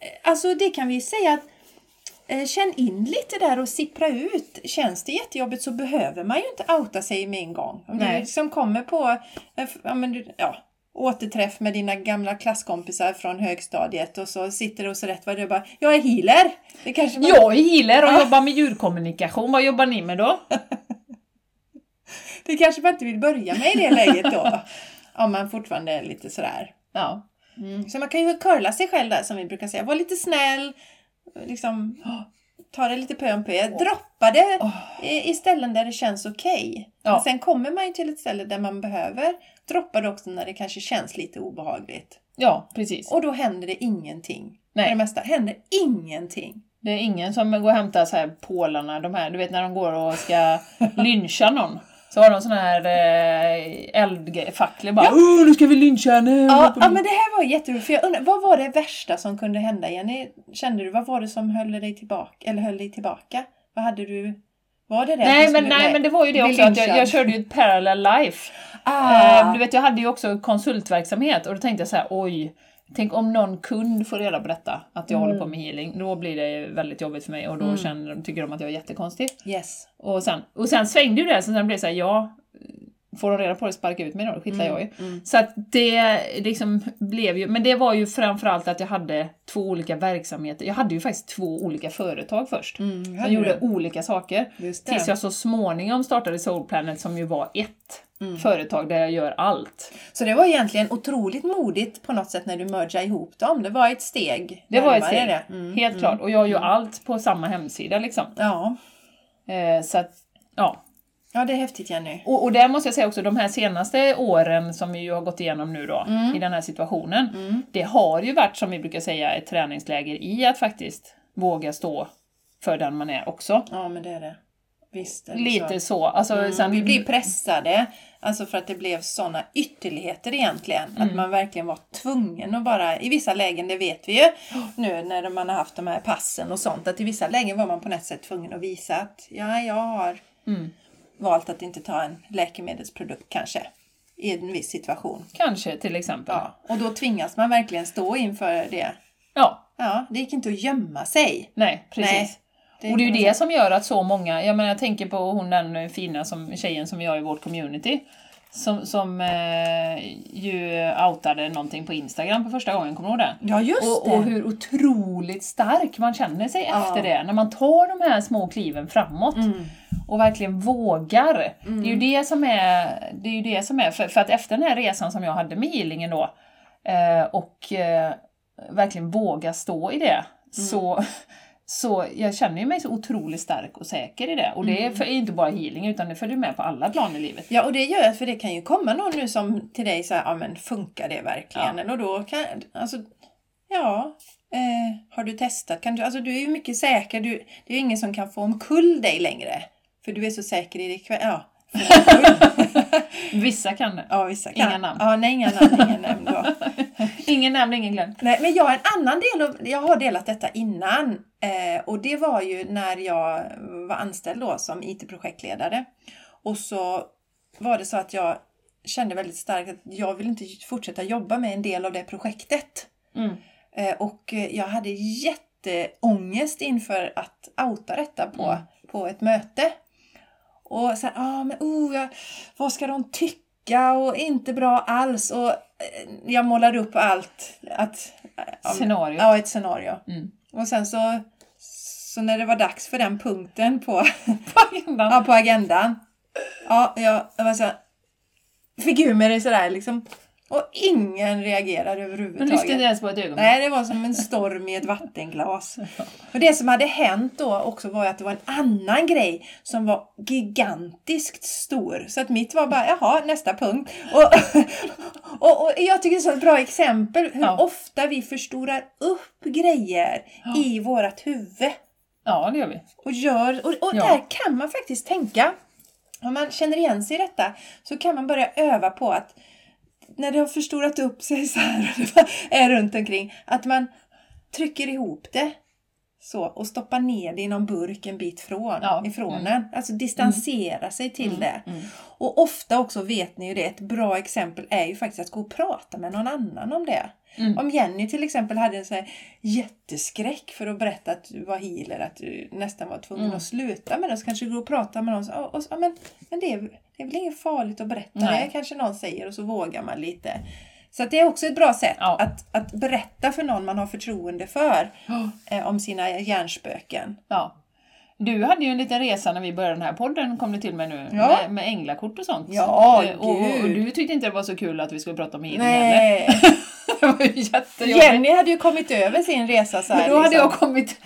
eh, alltså det kan vi ju säga att eh, Känn in lite där och sippra ut. Känns det jättejobbigt så behöver man ju inte outa sig med en gång. Om Nej. du liksom kommer på eh, f- ja, men du, ja, återträff med dina gamla klasskompisar från högstadiet och så sitter du och så rätt vad det är bara Jag är healer! Det kanske man, Jag är healer och jobbar med djurkommunikation, vad jobbar ni med då? det kanske man inte vill börja med i det läget då. Om man fortfarande är lite sådär. Mm. Ja. Så man kan ju curla sig själv där som vi brukar säga. Var lite snäll. Liksom, ta det lite pö om pö. Droppa det i, i ställen där det känns okej. Ja. Men Sen kommer man ju till ett ställe där man behöver droppa det också när det kanske känns lite obehagligt. Ja, precis. Och då händer det ingenting. Nej. För det mesta händer ingenting. Det är ingen som går och hämtar så här pålarna, de här, du vet när de går och ska lyncha någon. Så har de såna här eh, eldfacklor bara. Ja. Åh, nu ska vi lyncha henne! Ja, ja, men det här var jätteroligt. För jag undrar, vad var det värsta som kunde hända Jenny? Kände du, vad var det som höll dig tillbaka? Eller höll dig tillbaka? Vad hade du? Var det det? att nej, du men, skulle- nej, men det var ju det bli också att jag, lynchad? jag körde ju ett parallel life. Ah. Eh, du vet, jag hade ju också konsultverksamhet och då tänkte jag så här, oj, tänk om någon kund får reda på detta, att Mm. jag håller på med healing. Då blir det väldigt jobbigt för mig och då känner, de- tycker de att jag är jättekonstig. Yes. Och sen, och sen svängde ju det, så sen blev det såhär, ja, får de reda på det sparka ut mig då, det Mm, skittar jag i. Så att det liksom blev ju, men det var ju framförallt att jag hade två olika verksamheter. Jag hade ju faktiskt två olika företag först. som Mm. hade gjorde olika saker. Just det. Tills jag så småningom startade Soul Planet som ju var ett Mm. företag där jag gör allt. Så det var egentligen otroligt modigt på något sätt när du mergade ihop dem. Det var ett steg. Det var ett närmare steg, det. Mm. helt klart. Och jag gör allt på samma hemsida liksom. Ja. Eh, så att, ja. Ja, det är häftigt Jenny. Och, och där måste jag säga också, de här senaste åren som vi ju har gått igenom nu då, Mm. i den här situationen, det har ju varit, som vi brukar säga, ett träningsläger i att faktiskt våga stå för den man är också. Ja, men det är det. Visst är det Lite så. så. Alltså, sen, Mm. Vi blir pressade, alltså för att det blev sådana ytterligheter egentligen. Mm. Att man verkligen var tvungen att bara, i vissa lägen, det vet vi ju nu när man har haft de här passen och sånt, att i vissa lägen var man på något sätt tvungen att visa att ja, jag har Mm. valt att inte ta en läkemedelsprodukt kanske i en viss situation. Kanske, till exempel. Ja. Ja, och då tvingas man verkligen stå inför det. Ja, det gick inte att gömma sig. nej, precis. Nej, det och det är ju kan man det som gör att så många, jag menar jag tänker på hon den fina som, tjejen som vi har i vårt community, som, som eh, ju outade någonting på Instagram för första gången, kommer du ihåg det? Ja, just Och, och hur otroligt stark man känner sig efter det, när man tar de här små kliven framåt Mm. och verkligen vågar. Det är ju det som är, det är, ju det som är för, för att efter den här resan som jag hade med healingen då, eh, och eh, verkligen våga stå i det, Mm. så, så jag känner ju mig så otroligt stark och säker i det. Och det är Mm. för, är inte bara healing, utan det följer med på alla plan i livet. Ja, och det gör jag, för det kan ju komma någon nu som till dig säger, ja men funkar det verkligen? Och då kan, alltså, ja, eh, har du testat? Kan du, alltså du är ju mycket säker, du, det är ju ingen som kan få omkull dig längre. För du är så säker i dig själv. Ja, Vissa kan det. ja, vissa kan. Inga namn. Ja, nej, inga namn, ingen namn då. Ingen nämnd, ingen glömd. Nej, men jag har en annan del av, jag har delat detta innan eh, och det var ju när jag var anställd då som IT-projektledare och så var det så att jag kände väldigt starkt att jag vill inte fortsätta jobba med en del av det projektet. Mm. Eh, och eh, jag hade jätteångest inför att outa detta på, Mm. på ett möte. Och sen, ah, men oh, jag, vad ska de tycka? Och inte bra alls. Och eh, jag målar upp allt. Att, ja, men- Scenario. Ja, ett scenario. Mm. Och sen så, så när det var dags för den punkten på, Ja. ja, på agendan. Ja, jag, jag var så här, fick ur mig det sådär liksom. Och ingen reagerade Men överhuvudtaget. lyssnade inte ens på ett ögonblick. Nej, det var som en storm i ett vattenglas. Och det som hade hänt då också var ju att det var en annan grej som var gigantiskt stor. Så att mitt var bara, jaha, nästa punkt. Och, och, och jag tycker det är så ett bra exempel hur Ja. ofta vi förstorar upp grejer i vårat huvud. Ja, det gör vi. Och, gör, och, och Ja. där kan man faktiskt tänka. Om man känner igen sig i detta så kan man börja öva på att när det har förstorat upp sig så här och det bara är runt omkring, att man trycker ihop det så och stoppar ner det i någon burk en bit från, Ja, ifrån den. Alltså distansera sig till Mm. det. Och ofta också vet ni ju det, ett bra exempel är ju faktiskt att gå och prata med någon annan om det. Mm. Om Jenny till exempel hade en så här jätteskräck för att berätta att du var healer, att du nästan var tvungen Mm. att sluta med det, så kanske du går och pratar med någon och, så, "Ja, och, så, ja, men, men det, är, det är väl inget farligt att berätta Nej. det, kanske någon säger och så vågar man lite. Så att det är också ett bra sätt Ja. att, att berätta för någon man har förtroende för eh, om sina hjärnspöken. Ja. Du hade ju en liten resa när vi började den här podden, kom det till mig nu, Ja. med, med änglakort och sånt. Ja, Eh, och, och, och gud. du tyckte inte det var så kul att vi skulle prata om healing heller. Nej. Det var ju jättejobbigt. Jenny hade ju kommit över sin resa så Men då här, hade liksom. jag kommit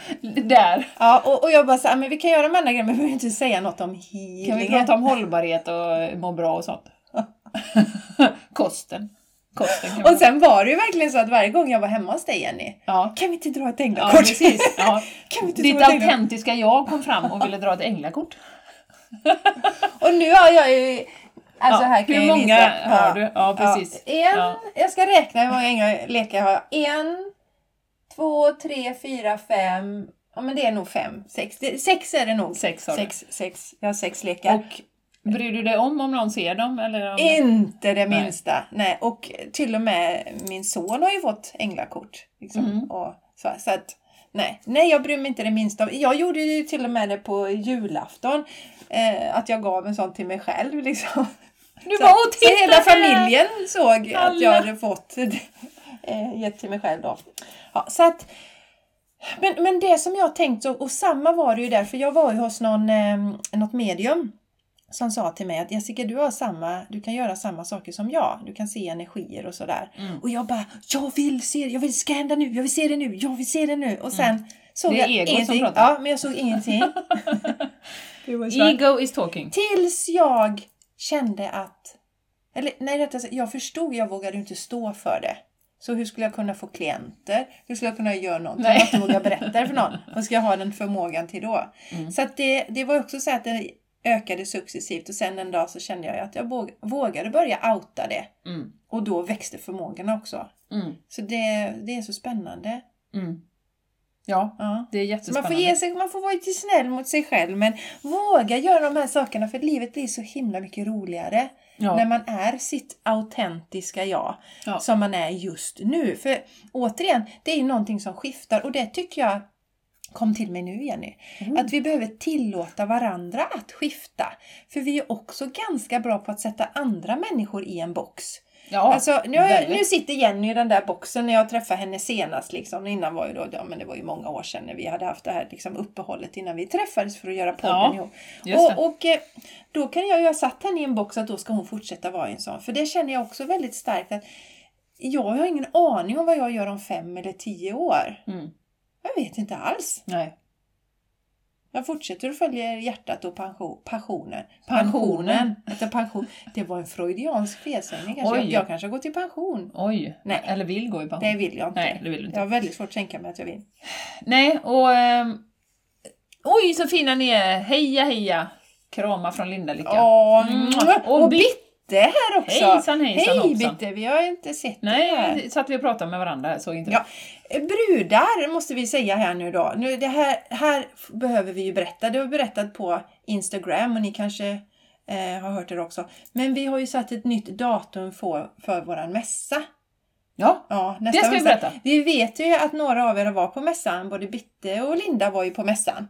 där. ja, och, och jag bara såhär, men vi kan göra de andra grejerna men vi behöver inte säga något om healing. Kan vi prata om hållbarhet och må bra och sånt? Kosten. Kosten kan vi Och sen var det ju verkligen så att varje gång jag var hemma hos dig Jenny, Ja. kan vi inte dra ett Ja, änglakort? precis. Ja. Kan vi inte Ditt dra ett änglakort? autentiska jag kom fram och ville dra ett änglakort. Och nu har jag ju... Alltså Ja, här kan hur jag ju många visa. har du? Ja, precis. En, Ja. Jag ska räkna hur många änglar- lekar jag har. En, två, tre, fyra, fem. Ja men det är nog fem. Sex, det, sex är det nog. Sex har du. sex, sex. Jag har sex lekar. Och bryr du dig om om någon ser dem? Eller om... Eh, Inte det Nej. minsta. Nej. Och till och med min son har ju fått änglakort. Liksom. Och så, så att, nej. nej, jag bryr mig inte det minsta om. Jag gjorde ju till och med det på julafton. Eh, att jag gav en sån till mig själv. Liksom. Du Så, bara, "Åh, så titta hela här!" familjen såg att jag Alla. hade fått eh, gett till mig själv då. Ja, så att, men, men det som jag tänkt, och, och samma var det ju där, för jag var ju hos någon, eh, något medium som sa till mig att Jessica du har samma, du kan göra samma saker som jag. Du kan se energier och sådär. Mm. Och jag bara, jag vill se det, jag vill, det ska hända nu, jag vill se det nu, jag vill se det nu. Och sen såg Mm. Det är jag egot som ingenting. pratar. Ja, men jag såg ingenting. Det var svart. Ego is talking. Tills jag kände att... Eller nej, rättare sagt, jag förstod, jag vågade ju inte stå för det. Så hur skulle jag kunna få klienter? Hur skulle jag kunna göra någonting? Nej. Jag måste våga berätta det för någon. Vad ska jag ha den förmågan till då? Mm. Så att det, det var också så att det ökade successivt och sen en dag så kände jag att jag våg- vågade börja outa det. Mm. Och då växte förmågorna också. Mm. Så det, det är så spännande. Mm. Ja, Ja. det är Så man jättespännande. får, ge sig, man får vara lite snäll mot sig själv men våga göra de här sakerna för livet blir så himla mycket roligare Ja. när man är sitt autentiska jag Ja. som man är just nu. För återigen, det är ju någonting som skiftar och det tycker jag kom till mig nu Jenny. Mm. Att vi behöver tillåta varandra att skifta. För vi är också ganska bra på att sätta andra människor i en box. ja. Alltså, nu, har jag, väldigt. nu sitter Jenny i den där boxen när jag träffade henne senast. Liksom. Innan var ju då, ja, men det var ju många år sedan när vi hade haft det här liksom, uppehållet innan vi träffades för att göra podden Ja, ihop. just det. Och, och eh, då kan jag ju ha satt henne i en box att då ska hon fortsätta vara i en sån. För det känner jag också väldigt starkt att jag har ingen aning om vad jag gör om fem eller tio år. Mm. Jag vet inte alls. Nej. Jag fortsätter att följa hjärtat och pension, passionen. Pensionen. Pensionen. Inte pension. Det var en freudiansk felsägning kanske. Jag, Oj. jag kanske går till pension. Oj. Nej. Eller vill gå i pension. Det Nej, vill jag inte. det vill du inte. Jag har väldigt svårt att tänka mig att jag vill. Nej, och... ehm, oj, så fina ni är! Heja, heja! Krama från Linda Lycka. Åh, Mm. Och, Och Bitte här också! Hejsan, hejsan, Hej hoppsan. Bitte, vi har inte sett dig här. Nej, så att vi pratar med varandra här, såg inte Ja, brudar måste vi säga här nu då. Nu, det här, här f- behöver vi ju berätta. Det har vi berättat på Instagram och ni kanske eh, har hört det också. Men vi har ju satt ett nytt datum för, för våran mässa. Ja. Ja, nästa Det ska vi mässa. berätta. Vi vet ju att några av er var på mässan. Både Bitte och Linda var ju på mässan.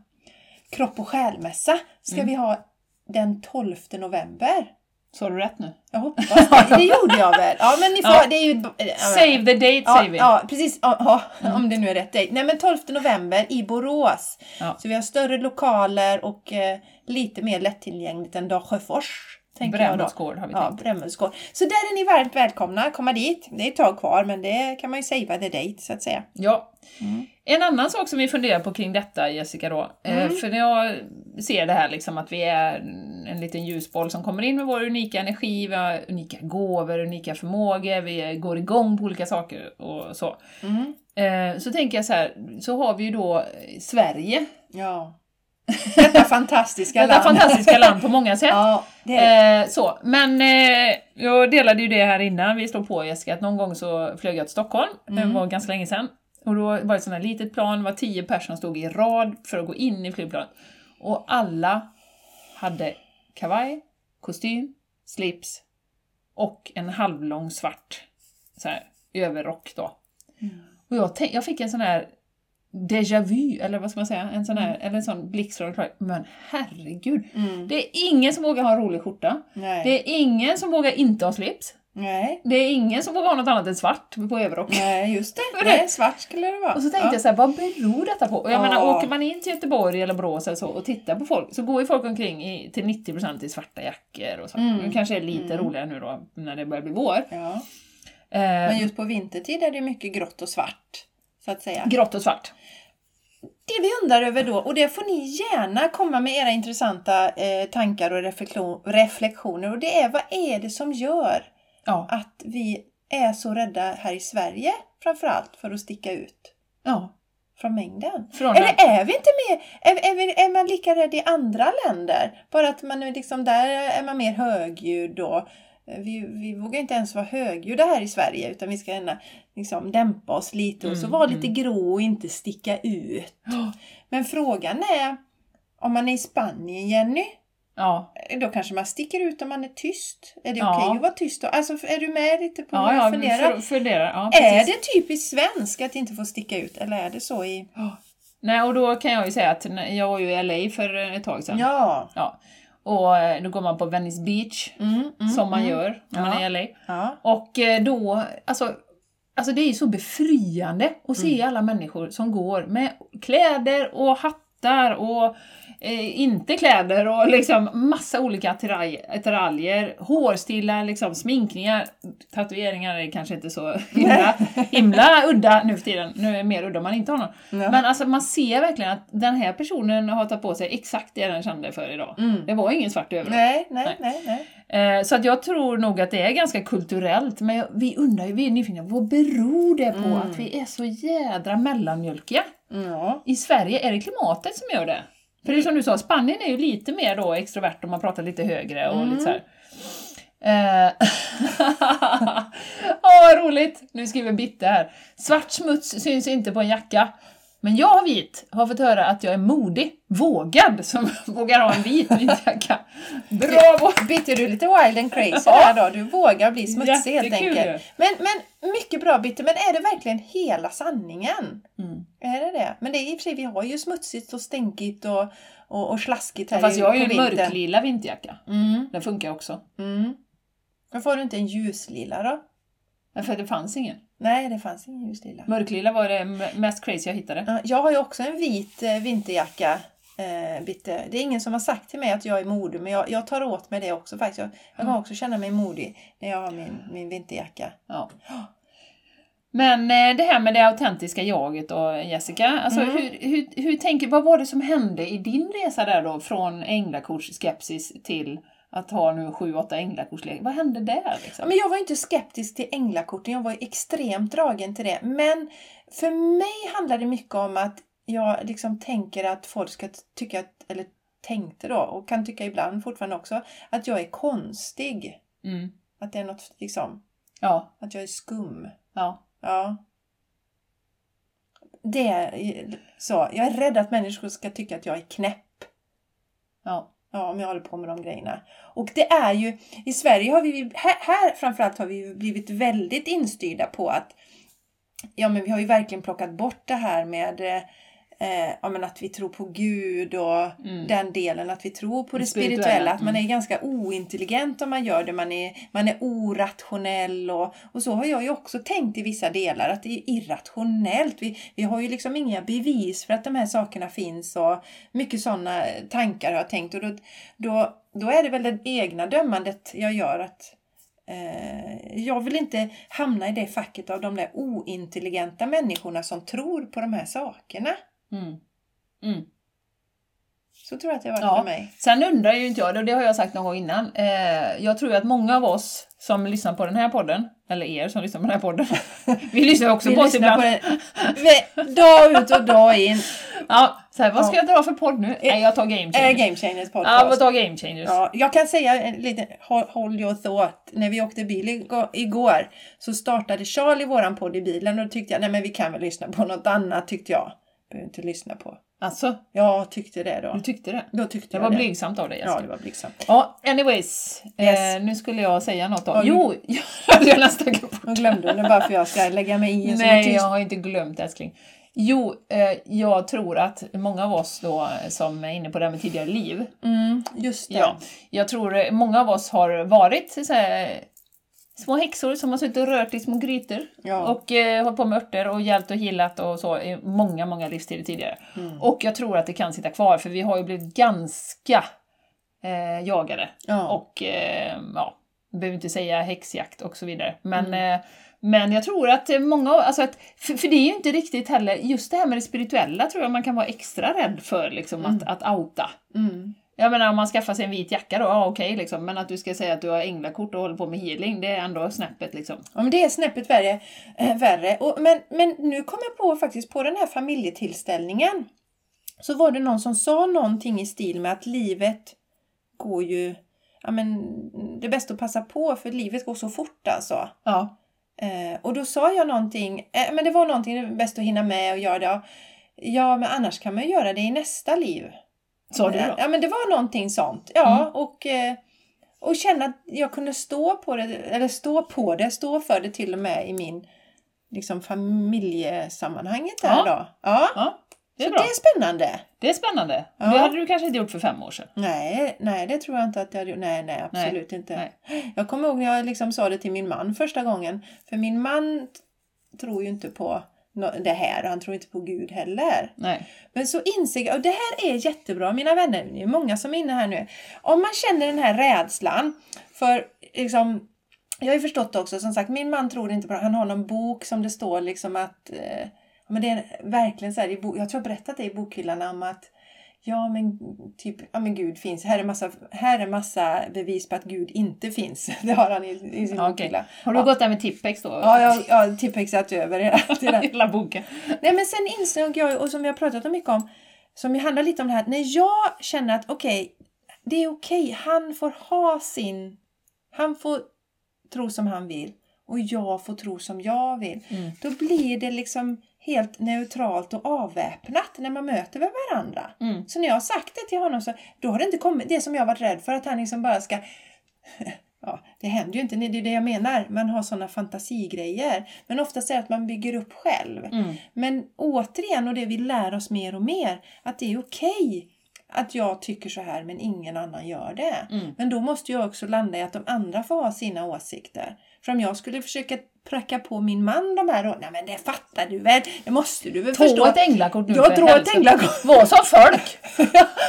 Kropp och själmässa ska Mm. vi ha den 12 november. Sa du rätt nu? Jag hoppas det. Det gjorde jag väl. Ja, men ni får, Ja. det är ju... ja, Save the date, Ja, säger vi. Mm. ja, precis. Ja, ja, Om det nu är rätt dejt. Nej, men 12 november i Borås. Ja. Så vi har större lokaler och eh, lite mer lättillgängligt än Dalsjöfors. tänker jag då. Brännbollsgård har vi Ja, tänkt. Brännbollsgård. Så där är ni varmt välkomna komma dit. Det är ett tag kvar men det kan man ju savea the date så att säga. Ja. Mm. En annan sak som vi funderar på kring detta, Jessica, då. eh, Mm. För när jag ser det här liksom att vi är en liten ljusboll som kommer in med vår unika energi, vi har unika gåvor, unika förmågor, vi går igång på olika saker och så. Mm. Eh, Så tänker jag så här, så har vi ju då eh, Sverige, Ja. Detta fantastiska detta land. fantastiska land på många sätt. Ja, det är det. Eh, så, men eh, jag delade ju det här innan vi slog på Jessica, att någon gång så flög jag till Stockholm, Mm. det var ganska länge sedan. Och då var det ett sånt här litet plan, det var tio personer som stod i rad för att gå in i flygplanet. Och alla hade kavaj, kostym, slips och en halvlång svart så här, överrock då. Och jag, tänk, jag fick en sån här déjà vu, eller vad ska man säga, en sån här, eller en sån blixtslag. Men herregud, Mm. det är ingen som vågar ha en rolig skjorta. Nej. Det är ingen som vågar inte ha slips. Nej. Det är ingen som vågar ha något annat än svart på överrock. Nej, just det. Vad är det? Nej, svart skulle det vara. Och så tänkte ja. jag så här, vad beror detta på? Och jag Ja. menar, åker man in till Göteborg eller Borås eller så och tittar på folk så går ju folk omkring i, till 90% i svarta jackor och så. Mm. Det kanske är lite roligare nu då när det börjar bli vår. Ja. Eh, Men just på vintertid är det mycket grått och svart. Så att säga. Grått och svart. Det vi undrar över då, och det får ni gärna komma med era intressanta eh, tankar och reflektion- reflektioner, och det är vad är det som gör Ja. att vi är så rädda här i Sverige framförallt för att sticka ut ja. från mängden? Från Eller är vi inte mer, är, är, vi, är man lika rädd i andra länder? Bara att man är liksom, där är man mer högljudd och eh, vi, vi vågar inte ens vara högljudda här i Sverige utan vi ska gärna liksom dämpa oss lite och så Mm, vara lite grå och inte sticka ut. Ja. Men frågan är om man är i Spanien, Jenny, Ja, då kanske man sticker ut om man är tyst. Är det Ja. okej att vara tyst då? Alltså, är du med lite på ja, vad jag ja funderar? funderar. funderar. Ja, Är precis. det typiskt svenskt att inte få sticka ut eller är det så i... Nej, och då kan jag ju säga att när- jag var ju i LA för eh, ett tag sedan. Ja. Ja. Och eh, då går man på Venice Beach, Mm, mm, som man mm. gör när man Ja. är i LA. Ja. Och eh, då, alltså, Mm. alltså det är ju så befriande att se alla människor som går med kläder och hattar hattar och eh, inte kläder och liksom massa olika attiraj- attiraljer, hårstilar, liksom, sminkningar. Tatueringar är kanske inte så himla, himla udda nu för tiden. Nu är det mer udda om man inte har någon. Ja. Men alltså man ser verkligen att den här personen har tagit på sig exakt det den kände för idag. Mm. Det var ingen svart överallt. Nej, nej, nej, nej. Eh, Så att jag tror nog att det är ganska kulturellt, men jag- vi undrar ju, vi är nyfikna, vad beror det på att vi är så jädra mellanmjölkiga? Ja. I Sverige, är det klimatet som gör det? För det är som du sa, Spanien är ju lite mer då extrovert och man pratar lite högre och lite så här. Eh, Åh, vad roligt! Nu skriver Bitte här. Svart smuts syns inte på en jacka. Men jag vit har fått höra att jag är modig, vågad, som vågar ha en vit vinterjacka. Bravo! Bitte, du är lite wild and crazy Ja. där då. Du vågar bli smutsig helt Jättekul enkelt. Men, men mycket bra Bitte, men är det verkligen hela sanningen? Mm. Är det det? Men det är i och för sig, vi har ju smutsigt och stänkigt och, och, och slaskigt här Fast jag har ju på en vintern. mörklila vinterjacka. Mm, Den funkar också. mm. Varför har du inte en ljuslila då? Ja, För det fanns ingen. Nej, det fanns ingen ljuslila. Mörklila var det m- mest crazy jag hittade. Ja, Jag har ju också en vit eh, vinterjacka. Eh, Bitte. Det är ingen som har sagt till mig att jag är modig, men jag, jag tar åt mig det också faktiskt. Jag, jag kan också känna mig modig när jag har min, min vinterjacka. Ja. Men eh, det här med det autentiska jaget och Jessica, alltså Mm. hur, hur, hur tänker, vad var det som hände i din resa där då? Från änglakortsskepsis till att ha nu 7-8 änglakortslekar. Vad hände där Ja, liksom? men jag var ju inte skeptisk till änglakorten, jag var ju extremt dragen till det. Men för mig handlar det mycket om att jag liksom tänker att folk ska t- tycka, att, eller tänkte då, och kan tycka ibland fortfarande också, att jag är konstig. Mm. Att det är något, liksom, Ja, att jag är skum. ja. Ja. Det är så. Jag är rädd att människor ska tycka att jag är knäpp. Ja. Ja, om jag håller på med de grejerna. Och det är ju, i Sverige har vi, här, här framförallt har vi ju blivit väldigt instyrda på att, ja men vi har ju verkligen plockat bort det här med eh, eh, ja, men att vi tror på Gud och Mm. den delen, att vi tror på det Det spirituella. spirituella, Mm. Att man är ganska ointelligent om man gör det. Man är, man är orationell och, och så har jag ju också tänkt i vissa delar att det är irrationellt. Vi, vi har ju liksom inga bevis för att de här sakerna finns och mycket sådana tankar har jag tänkt. Och då, då, då är det väl det egna dömandet jag gör att Eh, jag vill inte hamna i det facket av de där ointelligenta människorna som tror på de här sakerna. Mm. Mm. Så tror jag att det var Ja. för mig. Sen undrar ju inte jag, och det har jag sagt någon gång innan, eh, jag tror ju att många av oss som lyssnar på den här podden, eller er som lyssnar på den här podden, vi lyssnar också Vi på typ oss lyssnar ibland. på det vi- dag ut och dag in. Ja, så här, vad ska jag dra för podd nu? Nej, jag tar Game Är Changers. Eh, Game Changers Ja, podcast. jag tar Game Changers. Ja, jag kan säga en liten, håll, håll your thought. När vi åkte bil ig- igår så startade Charlie våran podd i bilen och då tyckte jag, nej men vi kan väl lyssna på något annat tyckte jag. Behöver inte lyssna på. Alltså, Jag tyckte det du då. tyckte det? Då tyckte Det jag var det. blygsamt av dig Ja, Jessica. det var blygsamt. Ja, anyways. Yes. Eh, nu skulle jag säga något om... Ja, Jo, jag hade jag nästan glömt bort. Jag glömde henne bara för jag ska lägga mig i en sån här Nej, jag tyst. har inte glömt älskling. Jo, eh, jag tror att många av oss då eh, som är inne på det här med tidigare liv, Mm, just det. Ja, jag tror eh, många av oss har varit så här, små häxor som har suttit och rört i små grytor Ja. och eh, hållit på med örter och hjälpt och healat och så i många, många livstider tidigare. Mm. Och jag tror att det kan sitta kvar för vi har ju blivit ganska eh, jagade Ja. och eh, ja, behöver inte säga häxjakt och så vidare. Men, Mm. eh, men jag tror att eh, många, av- alltså att, för, för det är ju inte riktigt heller, just det här med det spirituella tror jag man kan vara extra rädd för liksom, att, att outa. Mm. Jag menar om man skaffar sig en vit jacka då, ja okej liksom. Men att du ska säga att du har änglakort och håller på med healing, det är ändå snäppet liksom. Ja, men det är snäppet värre. Eh, värre. Och, men, men nu kom jag på faktiskt på den här familjetillställningen. Så var det någon som sa någonting i stil med att livet går ju... Ja, men det är bäst att passa på för livet går så fort alltså. Ja. Eh, och då sa jag någonting, eh, men det var någonting, det är bäst att hinna med och göra det. Ja, Ja, men annars kan man ju göra det i nästa liv. Sa du då? Mm. Ja, men det var någonting sånt. Ja, och, eh, och känna att jag kunde stå på det, eller stå på det, stå för det till och med i min liksom, familjesammanhanget där Ja. då. Ja, Ja, det är så bra. det är spännande. Det är spännande. Ja. Det hade du kanske inte gjort för fem år sedan. Nej, nej, det tror jag inte att jag hade gjort. Nej, nej, absolut inte. Jag kommer ihåg när jag liksom sa det till min man första gången. För min man t- tror ju inte på nå- det här och han tror inte på Gud heller. Nej. Men så inser jag, och det här är jättebra mina vänner, det är många som är inne här nu. Om man känner den här rädslan för liksom jag har ju förstått också, som sagt, min man tror inte på det. Han har någon bok som det står liksom att... Eh, men det är verkligen så här, i bo, jag tror jag berättat det i bokhyllan om att... Ja men, typ, ja men Gud finns. Här är, massa, här är massa bevis på att Gud inte finns. Det har han i, i sin Ja, okej. bokhylla. Har du gått där med Tippex då? Ja, jag jag har tipexat över hela tiden. Hela boken. Nej men sen insåg jag, och som vi har pratat om mycket om, som ju handlar lite om det här, när jag känner att okej, det är okej, han får ha sin, han får tro som han vill och jag får tro som jag vill. Mm. Då blir det liksom helt neutralt och avväpnat när man möter varandra. Mm. Så när jag har sagt det till honom så då har det inte kommit det som jag varit rädd för att han liksom bara ska Ja, det händer ju inte, det är det jag menar. Man har sådana fantasigrejer. Men oftast är det att man bygger upp själv. Mm. Men återigen, och det vi lär oss mer och mer, att det är okej att jag tycker så här men ingen annan gör det. Mm. Men då måste jag också landa i att de andra får ha sina åsikter. För om jag skulle försöka pracka på min man de här åsikterna, nej men det fattar du väl, det måste du väl Ta förstå. ett änglakort nu Jag för drar ett helvete. änglakort. Var som folk!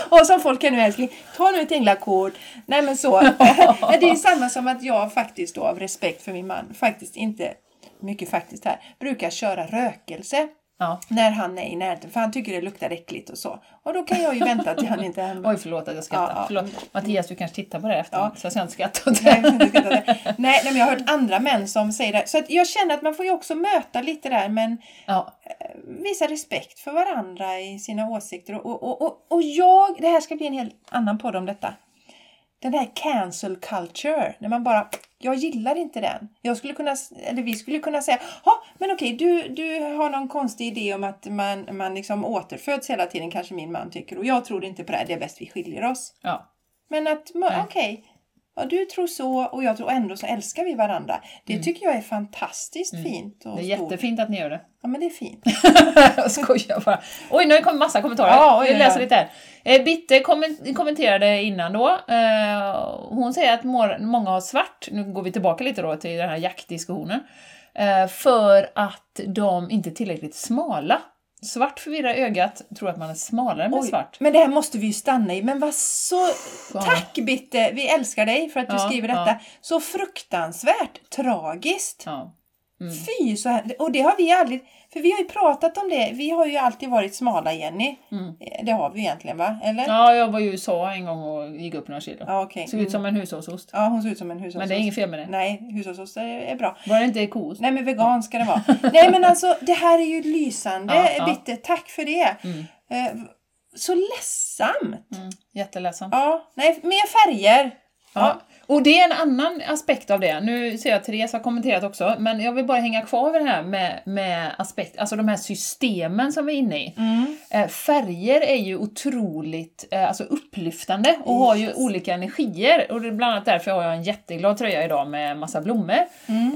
och som folk är nu älskling, ta nu ett änglakort. Nej men så. Men det är ju samma som att jag faktiskt då av respekt för min man, faktiskt inte, mycket faktiskt här, brukar köra rökelse. Ja. När han är i närheten, för han tycker det luktar äckligt och så. Och då kan jag ju vänta till han inte är hemma. Oj, förlåt att jag skrattar. Ja, ja. Förlåt. Mattias, du kanske tittar på det här efteråt, så jag ska inte skratta åt Nej, det. jag ska inte säga. nej, nej, men jag har hört andra män som säger det. Så att jag känner att man får ju också möta lite där, men Ja. visa respekt för varandra i sina åsikter. Och, och, och- och, och jag, det här ska bli en helt annan podd om detta. Den här cancel culture, när man bara, jag gillar inte den. Jag skulle kunna, eller vi skulle kunna säga, ja men okej, du, du har någon konstig idé om att man, man liksom återföds hela tiden, kanske min man tycker, och jag tror inte på det här, det är bäst vi skiljer oss. ja. Men att, ma- Mm. okej, ja, du tror så och jag tror ändå så älskar vi varandra. Det tycker jag är fantastiskt fint. Och Mm. Det är stort. jättefint att ni gör det. Ja men det är fint. jag skojar bara. Oj, nu har det kommit massa kommentarer. Ja, oj, Vi oj, läser oj. lite här. Eh, Bitte kommen- kommenterade innan då. Eh, hon säger att mor- många har svart, nu går vi tillbaka lite då till den här jaktdiskussionen, eh, för att de inte är tillräckligt smala. Svart förvirrar ögat, tror att man är smalare med Oj, svart. Men det här måste vi ju stanna i. Men vad så... Ja. Tack Bitte! Vi älskar dig för att du Ja, skriver ja. detta. Så fruktansvärt tragiskt. Ja. Mm. Fy så här. Och det har vi aldrig... För vi har ju pratat om det. Vi har ju alltid varit smala Jenny. Eh, Mm. Det har vi egentligen va? Eller? ja, jag var i USA en gång och gick upp några kilo. Ja, okej. Mm. Såg ut som en hushållsost. Ja, hon ser ut som en hushållsost. Men det är inget fel med det. Nej, hushållsost är, är bra. Var det inte koost? Nej men vegan ska det vara. Nej men alltså det här är ju lysande Ja, ja. Bitte. Tack för det. Mm. Eh, Så ledsamt! Mm. Jätteledsamt. Ja, nej, mer färger! Ja. Och det är en annan aspekt av det. Nu ser jag att Therese har kommenterat också, men jag vill bara hänga kvar vid det här med, med aspekt, alltså de här systemen som vi är inne i. Mm. Eh, färger är ju otroligt eh, alltså upplyftande och har ju Yes. olika energier. Och det är bland annat därför har jag en jätteglad tröja idag med massa blommor.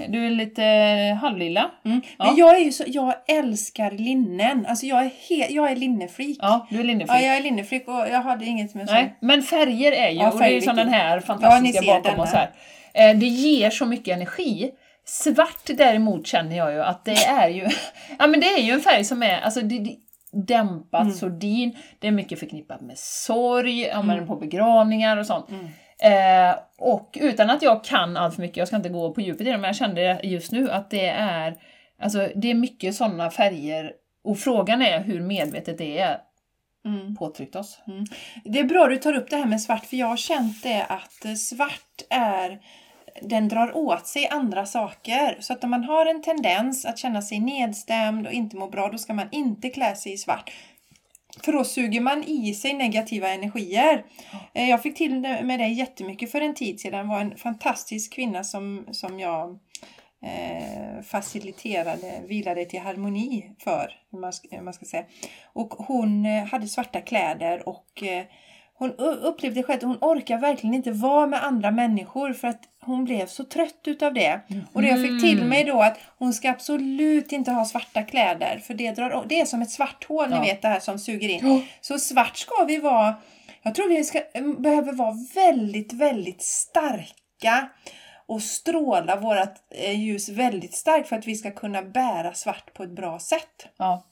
Du är lite eh, halvlila. Mm. Ja. Men jag är ju så, jag älskar linnen. Alltså jag är, he, jag är linnefreak. Ja. Ja, du är linnefri. jag är linnefreak och jag hade inget med sånt. Nej, men färger är ju, Ja, och det är ju färg- som den här Ja, fantastiska ni ser bakom den oss här. här. Eh, Det ger så mycket energi. Svart däremot känner jag ju att det är ju, ja men det är ju en färg som är, alltså det, det, dämpat, Mm. sordin, det är mycket förknippat med sorg, ja, Mm. men på begravningar och sånt. Eh, och utan att jag kan allt för mycket, jag ska inte gå på djupet i det, men jag kände just nu att det är, alltså det är mycket sådana färger och frågan är hur medvetet det är Mm. påtryckt oss. Det är bra du tar upp det här med svart för jag har känt det att eh, svart är den drar åt sig andra saker. Så att om man har en tendens att känna sig nedstämd och inte må bra, då ska man inte klä sig i svart. För då suger man i sig negativa energier. Eh, Jag fick till med det jättemycket för en tid sedan. Det var en fantastisk kvinna som, som jag eh, faciliterade, vilade till harmoni för. hur Man ska, hur man ska säga. Och hon eh, hade svarta kläder och eh, hon u- upplevde själv att hon orkar verkligen inte vara med andra människor för att hon blev så trött utav det. Och det jag fick till mig då att hon ska absolut inte ha svarta kläder för det, drar, det är som ett svart hål, Ja. ni vet det här som suger in. Ja. Så svart ska vi vara, eh, jag tror vi ska, behöver vara väldigt, väldigt starka och stråla vårt ljus väldigt starkt för att vi ska kunna bära svart på ett bra sätt. Ja.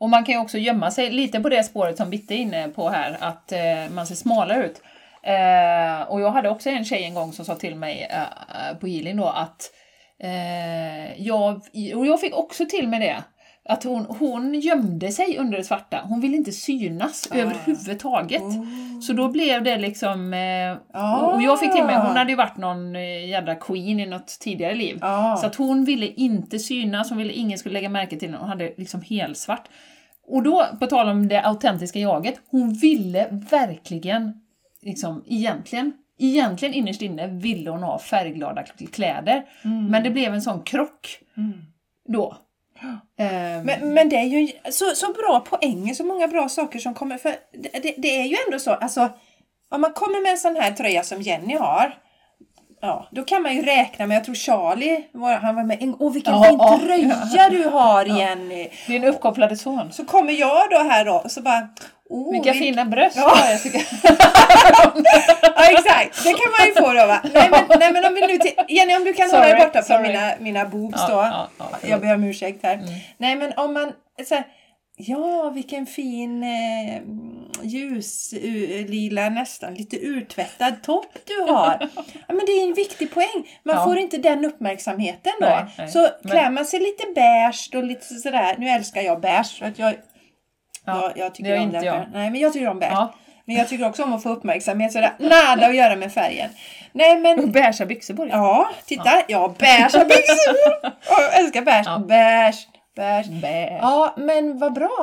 Och man kan ju också gömma sig lite på det spåret som Bitte är inne på här, att eh, man ser smalare ut. Eh, och jag hade också en tjej en gång som sa till mig eh, på healing då att eh, jag, och jag fick också till mig det, att hon, hon gömde sig under det svarta. Hon ville inte synas Ah. Oh. överhuvudtaget. Så då blev det liksom... Eh, Ah. och- Och jag fick till mig, hon hade ju varit någon eh, jädra queen i något tidigare liv. Ja. Så att hon ville inte synas, hon ville ingen skulle lägga märke till henne, hon hade liksom helsvart. Och då, på tal om det autentiska jaget, hon ville verkligen, liksom egentligen, egentligen innerst inne ville hon ha färgglada k- kläder. Men det blev en sån krock då. Ehm, Men, men det är ju så, så bra poänger, så många bra saker som kommer. För det, det, det är ju ändå så, alltså om man kommer med en sån här tröja som Jenny har, ja, då kan man ju räkna med, jag tror Charlie, var, han var med, åh vilken Ja, fin ja. tröja du har Jenny! Din uppkopplade son. Så kommer jag då här då, och så bara, åh, Vilka vil- fina bröst! Ja. har jag, tycker jag. Ja exakt, det kan man ju få då va. Nej men, nej, men om vi nu till, Jenny om du kan hålla dig Sorry, borta från sorry. mina, mina boobs Ja, då. ja, ja, förlåt. jag ber om ursäkt Mm. här. Nej men om man så här, Ja, vilken fin eh, ljuslila nästan lite urtvättad topp du har. Ja, men det är en viktig poäng. Man Ja. får inte den uppmärksamheten då. Nej, nej. Så Men- klär man sig lite beige och lite sådär. Nu älskar jag beige. för Att jag, Ja, jag, jag tycker det gör om inte den jag. färgen. Nej, men jag tycker om beige. Ja. Men jag tycker också om att få uppmärksamhet så det har nada att göra med färgen. Nej men, Beiga byxor på dig. ja, titta, jag har beiga byxor! Ja, Jag älskar beige, Ja. beige, beige. Bäh. Ja, men vad bra!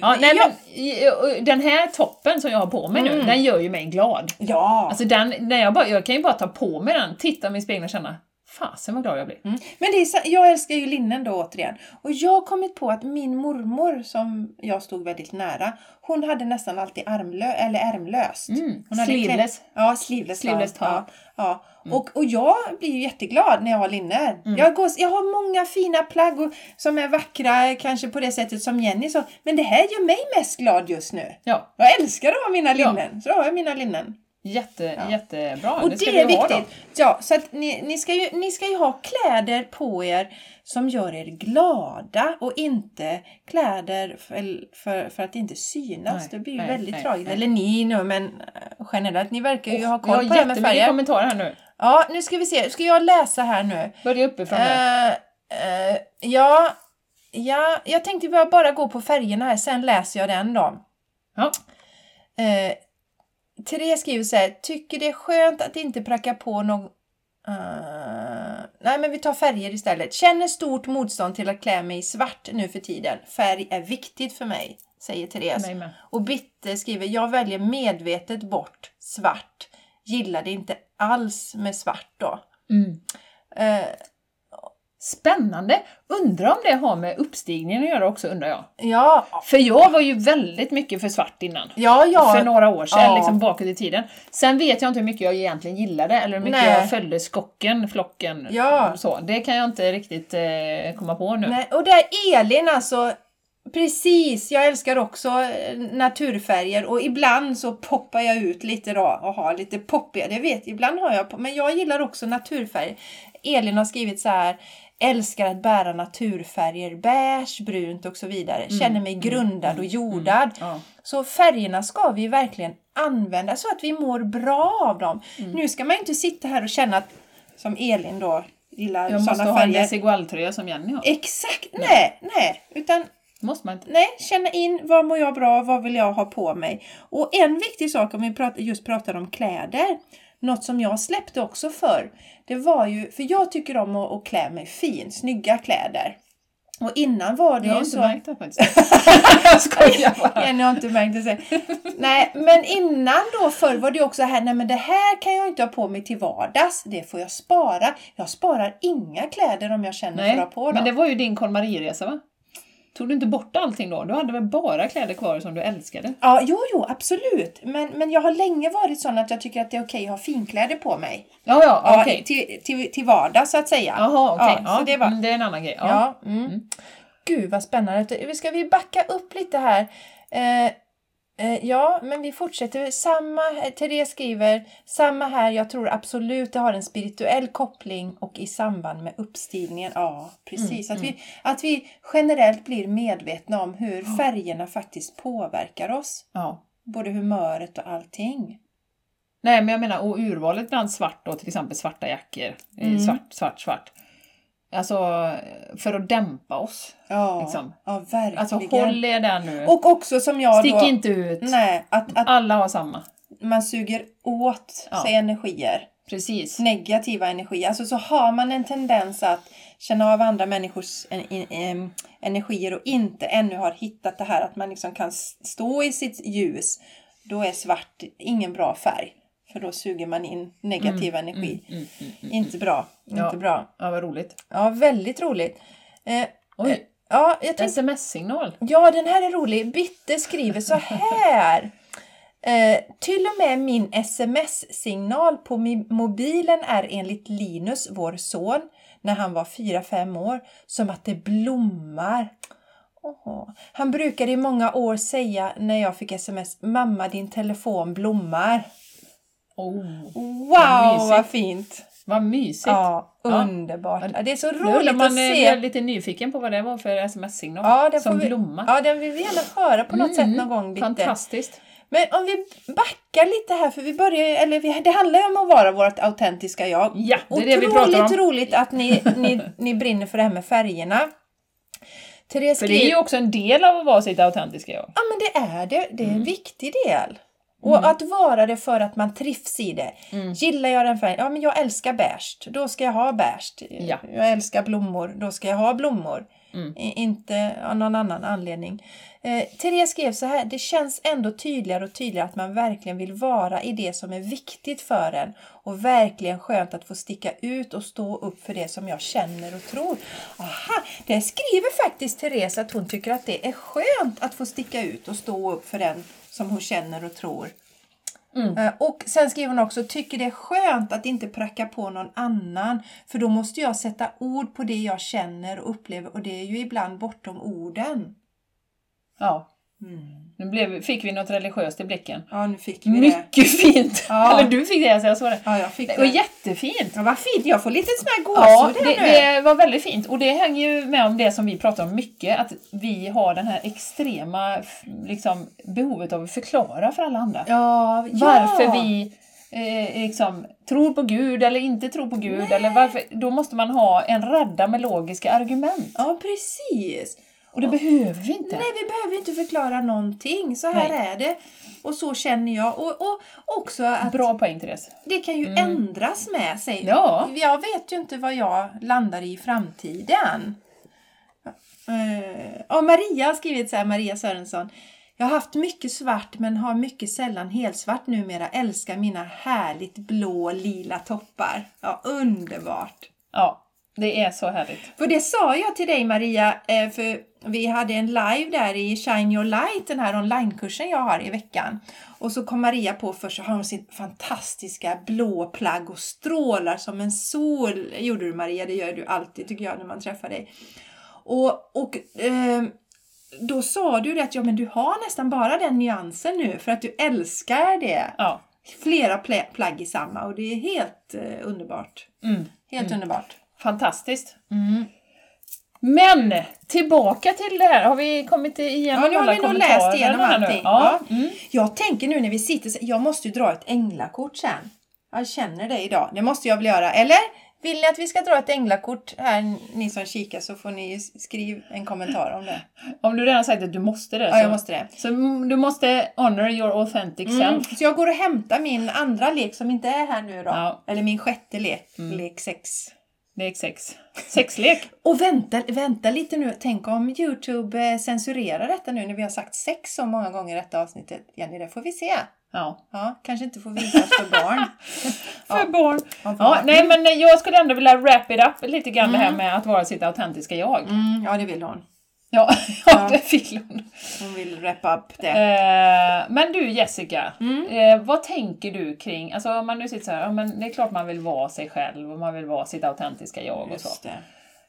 Ja, nej, ja. men, Mm. i- och den här toppen som jag har på mig nu, den gör ju mig glad. ja. Alltså den, när jag, bara, jag kan ju bara ta på mig den, titta mig i spegeln och känna Fasen vad glad jag blir. Men det är, så- jag älskar ju linnen då återigen. Och jag har kommit på att min mormor, som jag stod väldigt nära, hon hade nästan alltid armlö eller ärmlöst. Mm, Hon hade sleeveless. klä- Ja, sleeveless. Sleeveless ja. top. Mm. ja. Och, och jag blir ju jätteglad när jag har linne. Jag, går, jag har många fina plagg och, som är vackra, kanske på det sättet som Jenny sa. Men det här gör mig mest glad just nu. Ja, Jag älskar att ha mina Ja. linnen. Så då har jag mina linnen. jätte, jättebra. Och det, är vi ha då. viktigt. Ja, så att ni, ni, ska ju, ni ska ju ha kläder på er som gör er glada och inte kläder för, för, för att inte synas. Nej, det blir ju nej, väldigt nej, tragiskt. nej. Eller ni nu, men eh, generellt, ni verkar ju ha Vi har koll på det här med jättemycket färger. kommentarer här nu. Ja, nu ska vi se. Ska jag läsa här nu? Börja uppifrån där. Eh, eh, ja, ja, jag tänkte bara, bara gå på färgerna här, sen läser jag den då. Ja. Eh, Therese skriver så här, tycker det är skönt att inte pracka på någon... Eh, nej, men vi tar färger istället. Känner stort motstånd till att klä mig i svart nu för tiden. Färg är viktigt för mig, säger Therese. Mig med. Och Bitte skriver, jag väljer medvetet bort svart. Gillar det inte alls med svart då. Mm. Eh, Spännande! Undrar om det har med uppstigningen att göra också, undrar jag. ja, För jag var ju väldigt mycket för svart innan. ja, ja. för några år sedan, Ja. liksom bakåt i tiden. Sen vet jag inte hur mycket jag egentligen gillade eller hur mycket Nej. jag följde skocken, flocken. Ja. Så, det kan jag inte riktigt eh, komma på nu. Nej, och där Elin alltså, precis, jag älskar också eh, naturfärger och ibland så poppar jag ut lite då och har lite poppiga, det vet ibland har jag, på- men jag gillar också naturfärger. Elin har skrivit så här, älskar att bära naturfärger, beige, brunt och så vidare, Mm, känner mig grundad och jordad. Ja. Så färgerna ska vi verkligen använda så att vi mår bra av dem. Mm. Nu ska man ju inte sitta här och känna att, som Elin då, gillar Jag måste sådana ha en färger. Desigual-tröja som Jenny har. Exakt! Nej, nej. Utan Måste man inte? nej, känna in vad mår jag bra av, vad vill jag ha på mig. Och en viktig sak om vi pratar, just pratar om kläder, något som jag släppte också för det var ju, för jag tycker om att, att klä mig fin, snygga kläder. Och innan var det Jag har ju inte så... märkt det faktiskt. jag skojar bara. Jenny har inte märkt det. sig. Nej, men innan då förr var det ju också här, nej men det här kan jag inte ha på mig till vardags. Det får jag spara. Jag sparar inga kläder om jag känner för Nej, att ha på dem. men det var ju din KonMari-resa va? Tog du inte bort allting då? Du hade väl bara kläder kvar som du älskade? Ja, jo, jo, absolut. Men, men jag har länge varit sån att jag tycker att det är okej att ha finkläder på mig. Ja, ja, Ja, okej. till, till, till vardag så att säga. Jaha, okej. Ja, Ja, Så det var... mm, det är en annan grej. Ja. Mm. Ja, mm. Gud vad spännande. Ska vi backa upp lite här? Eh, Eh, Ja, men vi fortsätter. Samma, eh, Therese skriver, samma här, jag tror absolut det har en spirituell koppling och i samband med uppstigningen. Ja, precis. Mm, att, Vi, att vi generellt blir medvetna om hur färgerna faktiskt påverkar oss. Ja. Både humöret och allting. Nej, men jag menar, och urvalet bland svart då, till exempel svarta jackor. Eh, Mm. Svart, svart, svart. Alltså, eh, för att dämpa oss. Ja, Liksom. ja verkligen. Alltså, håll er där nu. Och också som jag Stick då... inte ut. Nej, att, att Alla har samma. man suger åt Ja. sig energier. Precis. negativa energi. Alltså så har man en tendens att känna av andra människors en, en, em, energier och inte ännu har hittat det här att man liksom kan s- stå i sitt ljus. Då är svart ingen bra färg. För då suger man in negativ Mm, energi. inte bra. Ja. Inte bra. Ja, vad roligt. Ja, väldigt roligt. Eh, Oj, ja, jag tänkte sms-signal. Ja, den här är rolig. Bitte skriver så här. Eh, till och med min sms-signal på mi- mobilen är enligt Linus, vår son, när han var 4-5 år, som att det blommar. Åh. Han brukade i många år säga när jag fick sms, mamma din telefon blommar. Oh, Wow, vad mysigt. fint! vad mysigt. Ja, Ja. underbart. Ja. Det är så Nu undrar roligt man att eh, se. blir lite nyfiken på vad det var för sms-signal Ja, den, får som vi, blommar. ja, den vill vi gärna höra på något sätt någon gång. Bitte. Fantastiskt. Men om vi backar lite här, för vi börjar ju- eller vi, det handlar ju om att vara vårt autentiska jag. Ja, det är det Otroligt vi pratar om. roligt att ni, ni, ni brinner för det här med färgerna. Therese För det är ju skriver, också en del av att vara sitt autentiska jag. ja men det är det, det är en Mm. viktig del. Och att vara det för att man trivs i det. Mm. Gillar jag den färgen? Ja, men jag älskar beige. Då ska jag ha beige. Ja. Jag älskar blommor. Då ska jag ha blommor. Mm. I- Inte av någon annan anledning. Eh, Therese skrev så här. Det känns ändå tydligare och tydligare att man verkligen vill vara i det som är viktigt för en. Och verkligen skönt att få sticka ut och stå upp för det som jag känner och tror. Aha, det skriver faktiskt Therese att hon tycker att det är skönt att få sticka ut och stå upp för den som hon känner och tror. Eh, Och sen skriver hon också, tycker det är skönt att inte pracka på någon annan, för då måste jag sätta ord på det jag känner och upplever och det är ju ibland bortom orden. Ja. Nu blev, fick vi något religiöst i blicken. Ja, nu fick vi Mm. det. Mycket fint! Ja. Eller du fick det, alltså jag såg det. Ja, jag fick Det var det. jättefint! Ja, vad fint, jag får lite sån här Ja, gåshud det, här nu. det var väldigt fint. Och det hänger ju med om det som vi pratar om mycket, att vi har den här extrema f- liksom, behovet av att förklara för alla andra. Ja, ja. Varför vi eh, liksom, tror på Gud eller inte tror på Gud. Eller varför, då måste man ha en radda med logiska argument. Ja, precis. Och det behöver vi inte. Nej, vi behöver inte förklara någonting. Så här Nej. är det. Och så känner jag. Och, och också att Bra poäng Therese. det kan ju ändras med sig. Ja. Jag vet ju inte vad jag landar i i framtiden. Eh, och Maria har skrivit så här, Maria Sörensson. Jag har haft mycket svart men har mycket sällan helsvart numera. Älskar mina härligt blå lila toppar. Ja, underbart! Ja, det är så härligt. För det sa jag till dig Maria, eh, för vi hade en live där i Shine Your Light, den här onlinekursen jag har i veckan. Och så kom Maria på först så har hon sitt fantastiska blå plagg och strålar som en sol. Gjorde du Maria, det gör du alltid tycker jag när man träffar dig. Och, och ehm, då sa du det att ja, men du har nästan bara den nyansen nu för att du älskar det. Ja. Flera plä- plagg i samma och det är helt eh, underbart. Helt underbart. Fantastiskt. Mm. Men tillbaka till det här. Har vi kommit igenom Ja, nu har alla vi nog kommentarer läst igenom här nu? allting. Ja. Mm. Ja. Jag tänker nu när vi sitter så- jag måste ju dra ett änglakort sen. Jag känner det idag, det måste jag väl göra. Eller? Vill ni att vi ska dra ett änglakort här, ni som kikar, så får ni ju skriva en kommentar om det. Om du redan sagt att du måste det. Ja, jag måste det. Så du måste honor your authentic Mm. self. Så jag går och hämtar min andra lek som inte är här nu då. Ja. Mm. Eller min sjätte lek, lek sex. Lek sex. Sexlek. Och vänta, vänta lite nu, tänk om Youtube eh, censurerar detta nu när vi har sagt sex så många gånger i detta avsnittet. Jenny, det får vi se. Ja. Ja, kanske inte får visas för barn. För barn. Ja, för Ja, barn. nej, men jag skulle ändå vilja wrap it up lite grann det här med att vara sitt autentiska jag. Mm, ja, det vill hon. Ja, ja, det fick hon. Hon vill wrappa upp det. Eh, men du Jessica, Mm. eh, vad tänker du kring, alltså om man nu sitter så här, ja, men det är klart man vill vara sig själv och man vill vara sitt autentiska jag och så. Just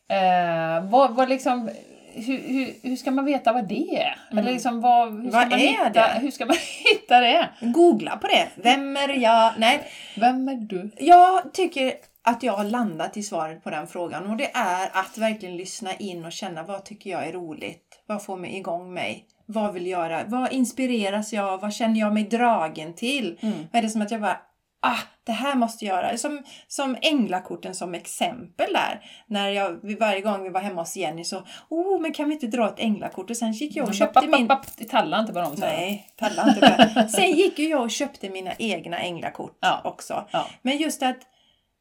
det. Eh, vad, vad liksom, hur, hur, hur ska man veta vad det är? Eller liksom, vad, hur, ska Mm. Vad man är hitta, det? hur ska man hitta det? Googla på det. Vem är jag? Nej, Vem är du? jag tycker att jag har landat i svaret på den frågan och det är att verkligen lyssna in och känna vad tycker jag är roligt? Vad får mig igång mig? Vad vill jag göra? Vad inspireras jag av? Vad känner jag mig dragen till? Vad är det som att jag bara Ah, det här måste jag göra. Som, som änglakorten som exempel där. När jag, vi- varje gång vi var hemma hos Jenny så, oh men kan vi inte dra ett änglakort? Och sen gick jag och köpte min... Talla inte på dem så. här. Mm. Nej, pallar inte det. Sen gick ju jag och köpte mina egna änglakort Ja. också. Ja. Men just att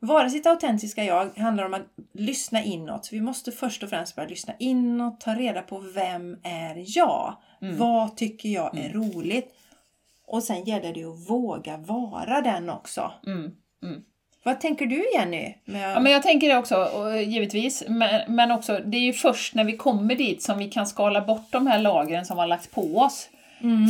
vara sitt autentiska jag handlar om att lyssna inåt. Vi måste först och främst börja lyssna inåt, ta reda på vem är jag? Vad tycker jag är roligt? Och sen gäller det att våga vara den också. Mm. Vad tänker du Jenny? Med... Ja, men jag tänker det också, och eh, givetvis. Men, men också, det är ju först när vi kommer dit som vi kan skala bort de här lagren som har lagts på oss.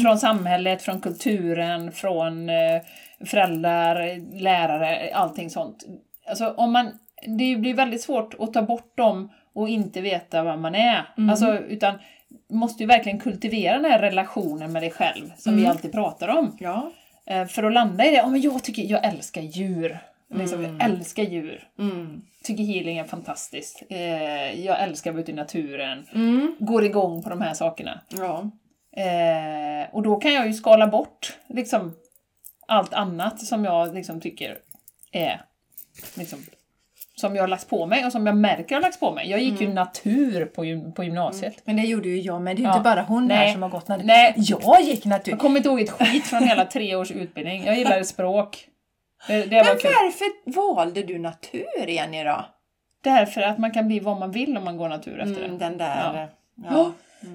Från samhället, från kulturen, från eh, föräldrar, lärare, allting sånt. Alltså, om man, det blir väldigt svårt att ta bort dem och inte veta vad man är. Alltså, utan måste ju verkligen kultivera den här relationen med dig själv, som vi alltid pratar om. ja. Eh, För att landa i det, oh, men jag, tycker, jag älskar djur. Liksom, Jag älskar djur Mm. tycker healing är fantastiskt. Eh, jag älskar att vara ute i naturen. Mm. Går igång på de här sakerna. ja. Eh, och då kan jag ju skala bort liksom, allt annat som jag liksom, tycker är liksom, som jag har lagt på mig och som jag märker har lagts på mig. Jag Mm. gick ju natur på, gym- på gymnasiet. Men det gjorde ju jag med. Det är ju Ja. inte bara hon här Nej. som har gått natur. Nej. Jag gick natur. Jag kommer inte ihåg ett skit från hela tre års utbildning. Jag gillade språk. Det, det Men var kul. varför valde du natur Jenny då? Därför att man kan bli vad man vill om man går natur efter det. Mm, den där... Ja. Ja. Mm. Ja.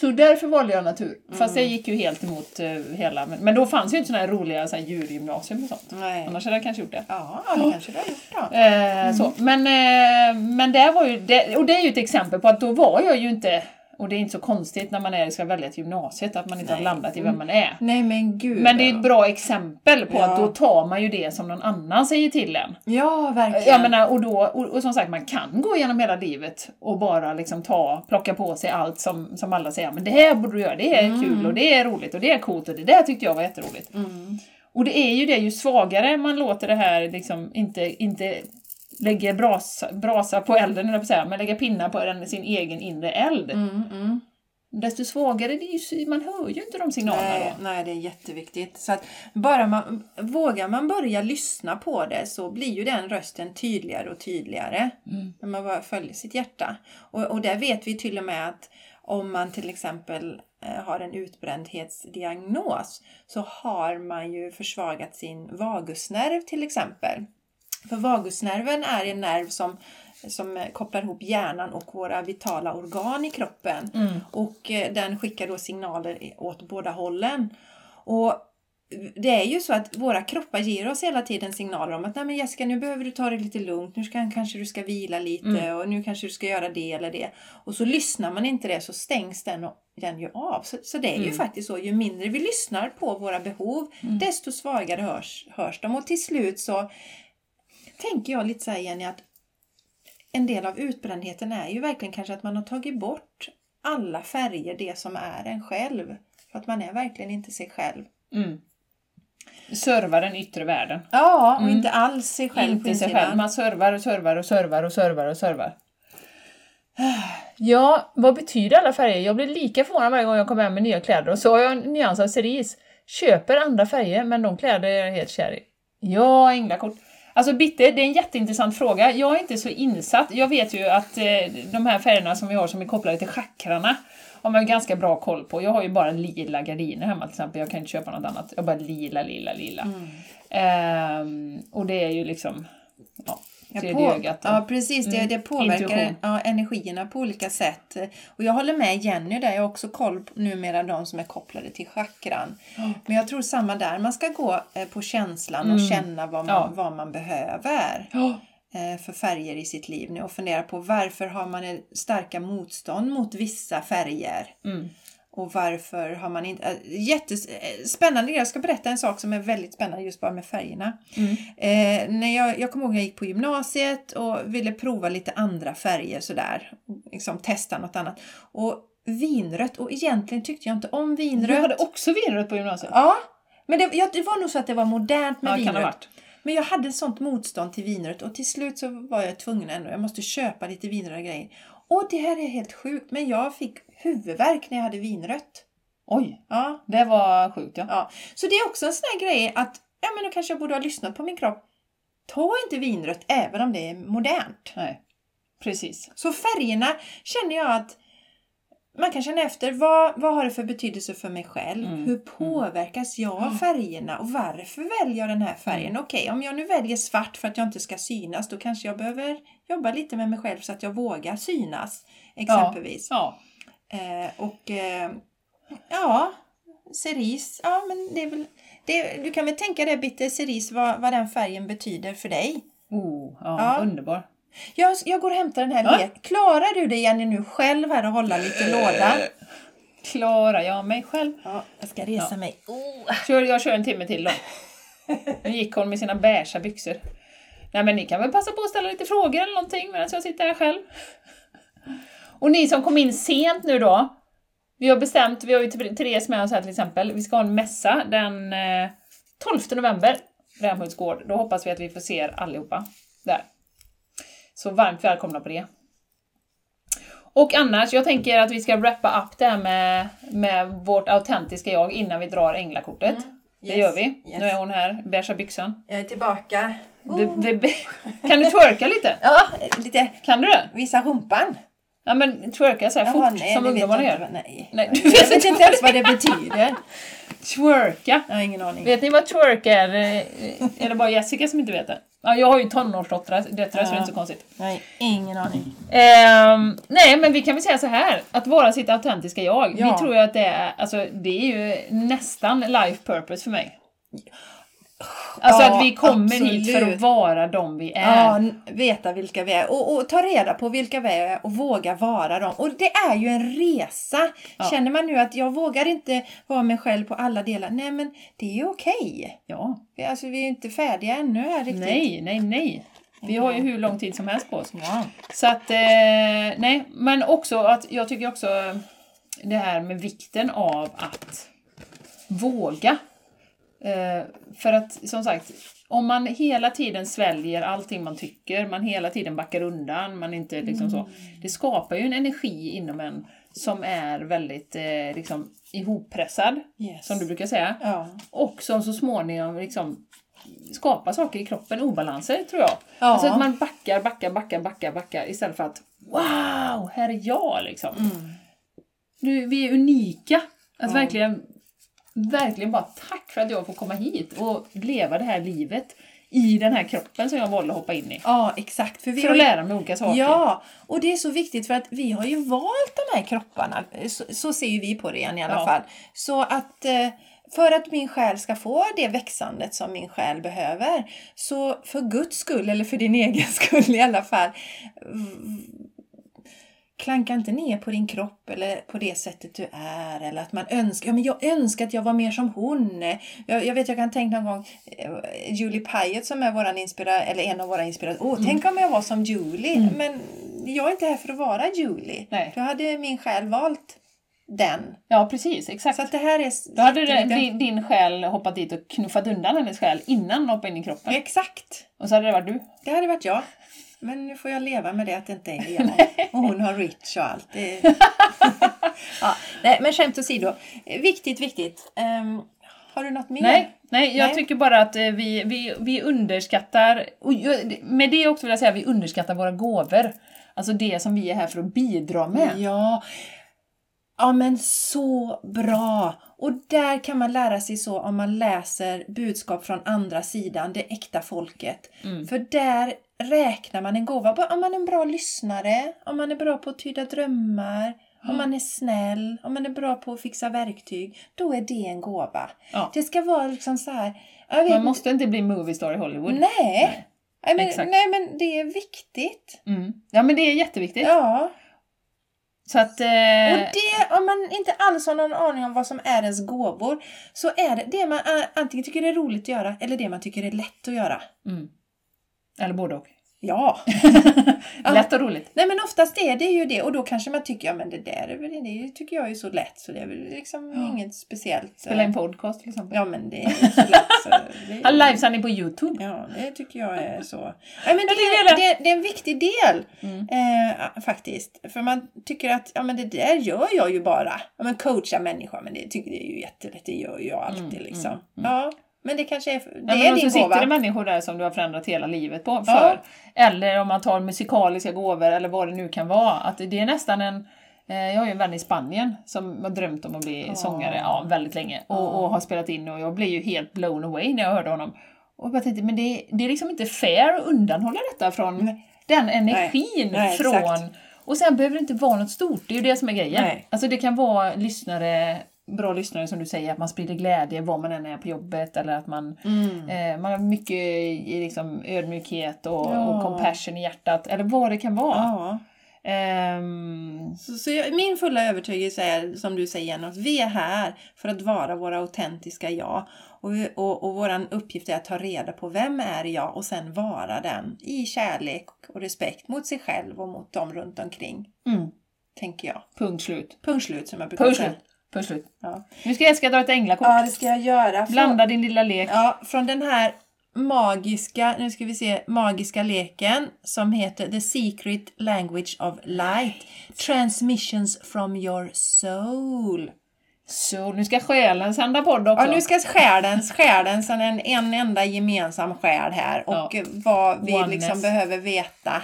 Så därför valde jag natur. Fast jag gick ju helt emot eh, hela... Men, men då fanns ju inte såna här roliga så här, djurgymnasium och sånt. Nej. Annars hade jag kanske gjort det. Ja, det kanske du har gjort då. Eh, så. Mm. Men, eh, men det var ju... Det, och det är ju ett exempel på att då var jag ju inte... Och det är inte så konstigt när man är, ska välja till gymnasiet att man inte har Nej. Mm. landat i vem man är. Nej men gud. Men det är ett bra exempel på Ja. att då tar man ju det som någon annan säger till en. Ja, verkligen. Jag menar, och, då, och, och som sagt, man kan gå igenom hela livet och bara liksom ta, plocka på sig allt som, som alla säger, men det här borde du göra, det är kul och det är roligt och det är coolt och det där tyckte jag var jätteroligt. Mm. Och det är ju det, ju svagare man låter det här liksom inte, inte lägga brasa, brasa på elden, höll jag på att säga, men lägga pinnar på den, sin egen inre eld, Mm, mm. desto svagare, det är ju, sy- man hör ju inte de signalerna Nej, då. nej, det är jätteviktigt. Så att bara man, vågar man börja lyssna på det så blir ju den rösten tydligare och tydligare. När man bara följer sitt hjärta. Och, och där vet vi till och med att om man till exempel eh, har en utbrändhetsdiagnos så har man ju försvagat sin vagusnerv till exempel. För vagusnerven är en nerv som, som eh, kopplar ihop hjärnan och våra vitala organ i kroppen. Och eh, den skickar då signaler i- åt båda hållen. Och det är ju så att våra kroppar ger oss hela tiden signaler om att Nej, men Jessica, nu behöver du ta det lite lugnt, nu ska, kanske du ska vila lite och nu kanske du ska göra det eller det. Och så lyssnar man inte det så stängs den, och, den ju av. Så, så det är ju faktiskt så, ju mindre vi lyssnar på våra behov, desto svagare hörs, hörs de. Och till slut så tänker jag lite så här Jenny att en del av utbrändheten är ju verkligen kanske att man har tagit bort alla färger, det som är en själv. För att man är verkligen inte sig själv. Mm. Serva den yttre världen. Ja, och Mm. inte alls sig själv på inte sig insidan. själv. Man servar och servar och servar och servar och servar. Ja, vad betyder alla färger? Jag blir lika förvånad varje gång jag kommer hem med nya kläder och så har jag en nyans av cerise. Köper andra färger, men de kläder jag är helt kär i. Ja, änglakort. Alltså Bitte, det är en jätteintressant fråga. Jag är inte så insatt. Jag vet ju att eh, de här färgerna som vi har som är kopplade till chakrarna har man ju ganska bra koll på. Jag har ju bara lila gardiner hemma till exempel. Jag kan inte köpa något annat. Jag har bara lila, lila, lila. Mm. Ehm, och det är ju liksom ja, Ja, tredje på- ögat. då. Ja, precis. Det, det påverkar Intuition. ja, energierna på olika sätt. Och jag håller med Jenny där. Jag har också koll på numera de som är kopplade till chakran. Men jag tror samma där. Man ska gå eh, på känslan och känna vad man, Ja. vad man behöver Ja. eh, för färger i sitt liv nu och fundera på varför har man en starka motstånd mot vissa färger? Mm. Och varför har man inte... eh, Jättespännande grej. Jag ska berätta en sak som är väldigt spännande just bara med färgerna. Eh, när jag, jag kommer ihåg när jag gick på gymnasiet och ville prova lite andra färger sådär. liksom testa något annat. Och vinrött, och egentligen tyckte jag inte om Du vinrött. hade också vinrött på gymnasiet? Ja, men det, ja, det var nog så att det var modernt med Ja, kan ha vinrött. varit. Men jag hade sånt motstånd till vinrött och till slut så var jag tvungen ändå, jag måste köpa lite vinröda grejer. Och det här är helt sjukt, men jag fick huvudvärk när jag hade vinrött. Oj, Ja, det var sjukt ja. Ja, så det är också en sån här grej att ja, men då kanske jag borde ha lyssnat på min kropp. Ta inte vinrött även om det är modernt. Nej, precis. Så färgerna känner jag att man kan känna efter. Vad, vad har det för betydelse för mig själv? Mm, Hur mm. påverkas jag av färgerna och varför väljer jag den här Mm. färgen? Okej, om jag nu väljer svart för att jag inte ska synas, då kanske jag behöver jobba lite med mig själv så att jag vågar synas exempelvis. Ja, Eh, och eh, ja, cerise. Ja, men det är väl, det, du kan väl tänka dig Bitte, cerise, vad, vad den färgen betyder för dig. oh, ja, Ja. underbar. Jag, jag går och hämtar den här Ja. leken. Klarar du det Jenny nu själv här och hålla lite låda? Eh. Klarar jag mig själv? Ja, jag ska resa mig. Oh. Kör, jag kör en timme till då. Nu gick hon med sina beiga byxor. Nej men ni kan väl passa på att ställa lite frågor eller någonting medan jag sitter här själv. Och ni som kom in sent nu då. Vi har bestämt, vi har ju Therese med oss här till exempel, vi ska ha en mässa den eh, 12 november, Rämhults gård. Då hoppas vi att vi får se er allihopa där. Så varmt välkomna på det. Och annars, jag tänker att vi ska wrappa upp det här med, med vårt autentiska jag innan vi drar änglakortet. Mm. yes, Det gör vi. yes. Nu är hon här, beiga byxan. Jag är tillbaka. Oh. Det- det- be- kan du twerka lite? Ja, lite Kan du det? visa rumpan. Ja men twerka så här Jaha, fort nej, som det vet ungdomarna jag gör. inte vad- Nej. Nej, du jag vet vet inte inte ens vad det betyder. Twerka! Jag har ingen aning. Vet ni vad twerk är? Eh, Är det bara Jessica som inte vet det? Ja, jag har ju tonårsdöttrar döttrar, så det är inte så konstigt. Nej, ingen aning. Ehm, nej, men vi kan väl säga så här. Att vara sitt autentiska jag. Ja. Vi tror ju att det är, alltså, det är ju nästan life purpose för mig. Alltså Ja, att vi kommer hit för att absolut. vara de vi är. Ja, n- veta vilka vi är och, och ta reda på vilka vi är och våga vara dem. Och det är ju en resa. Känner man nu att jag vågar inte vara mig själv på alla delar, nej men det är ju okej. ja. Vi- Alltså vi är ju inte färdiga ännu här riktigt. Nej, nej, nej. Vi har ju hur lång tid som helst på oss. Ja. Så att, eh, nej, men också att jag tycker också eh, det här med vikten av att våga. Eh, för att som sagt, om man hela tiden sväljer allting man tycker, man hela tiden backar undan, man inte liksom så. Det skapar ju en energi inom en som är väldigt eh, liksom, ihoppressad, Yes. som du brukar säga. Ja. Och som så småningom liksom skapar saker i kroppen, obalanser tror jag. Ja. Alltså att man backar, backar, backar, backar, backar istället för att Wow, här är jag liksom. Mm. Du, vi är unika. Att verkligen, verkligen bara tack för att jag får komma hit och leva det här livet i den här kroppen som jag valde att hoppa in i. ja, exakt. För vi För har att ju- lära mig olika saker. Ja, och det är så viktigt för att vi har ju valt de här kropparna. Så, så ser ju vi på det igen i alla Ja. fall. Så att eh, för att min själ ska få det växandet som min själ behöver, så för Guds skull, eller för din egen skull i alla fall, v- klanka inte ner på din kropp eller på det sättet du är. Eller att man önskar, ja men jag önskar att jag var mer som hon. Jag, jag vet, jag kan tänka någon gång, eh, Julie Pyatt som är våran inspira, eller en av våra inspiratörer. Mm. Åh, tänk om jag var som Julie. Men jag är inte här för att vara Julie. Nej. Då hade min själ valt den. ja precis. Exakt. Så att det här är... Då hade det, jättelite- din, din själ hoppat dit och knuffat undan hennes själ innan hon hoppade in i kroppen. Exakt. Och så hade det varit du. Det hade varit jag. Men nu får jag leva med det att det inte är jag. Och hon har rich och allt. Det- ja, nej, men skämt åsido. Eh, Viktigt, viktigt. Ehm, har du något mer? Nej, nej jag Nej. tycker bara att eh, vi, vi, vi underskattar, och ju- med det också vill jag säga, vi underskattar våra gåvor. Alltså det som vi är här för att bidra med. Ja. ja, men så bra! Och där kan man lära sig så om man läser budskap från andra sidan, det äkta folket. Mm. För där räknar man en gåva. Bara Om man är en bra lyssnare, om man är bra på att tyda drömmar, om man är snäll, om man är bra på att fixa verktyg, då är det en gåva. Ja. Det ska vara liksom så här... Jag vet Man måste inte bli movie star i Hollywood. inte- Nej! Nej men, Exakt. nej, men det är viktigt. Mm. Ja men det är jätteviktigt. Ja. Så att... Eh, Och det, om man inte alls har någon aning om vad som är ens gåvor, så är det det man eh, antingen tycker är roligt att göra eller det man tycker är lätt att göra. mm. Eller både och. Ja. Lätt och roligt. Nej men oftast är det ju det och då kanske man tycker, ja men det där är väl, det är ju- tycker jag är så lätt så det är väl liksom inget speciellt. Spela en podcast till exempel. Ja men det är ju så lätt så Ja. det, Livesändning på Youtube. Ja, det tycker jag är så. Nej, men det, tycker är, det, det är en viktig del eh, faktiskt. För man tycker att ja, men det där gör jag ju bara. Ja, men coacha människor, men det tycker jag är ju jättelätt. Det gör jag alltid liksom. Ja, men det kanske är, det Ja, är men och så din gåva. sitter det människor där som du har förändrat hela livet på för. Ja. Eller om man tar musikaliska gåvor eller vad det nu kan vara. Att det är nästan en eh, jag har ju en vän i Spanien som har drömt om att bli sångare ja, väldigt länge och, och har spelat in och jag blev ju helt blown away när jag hörde honom. Och jag bara tänkte, men det, det är liksom inte fair att undanhålla detta från den energin Nej, från... exakt. Och sen behöver det inte vara något stort, det är ju det som är grejen. Nej. Alltså det kan vara lyssnare, bra lyssnare som du säger, att man sprider glädje var man än är på jobbet eller att man, Mm. eh, man har mycket i liksom ödmjukhet och, Ja. och compassion i hjärtat eller vad det kan vara. Ja. Ehm, Så, så jag, min fulla övertygelse är, som du säger, Jenny, att vi är här för att vara våra autentiska jag. Och, vi- och, och vår uppgift är att ta reda på vem är jag och sen vara den i kärlek och respekt mot sig själv och mot dem runt omkring. Mm. Tänker jag. punkt slut. Punkt slut som jag brukar Punkt säga. slut. Punkt slut. Ja. Nu ska Jessica dra ett änglakort. ja, det ska jag göra. Från, Blanda din lilla lek. ja, från den här magiska, nu ska vi se, magiska leken som heter The Secret Language of Light. Transmissions from your soul. Så nu ska själen sända podd också. Ja, nu ska skärens, skärens, en, en enda gemensam själ här och Ja. vad vi Oneness. liksom behöver veta.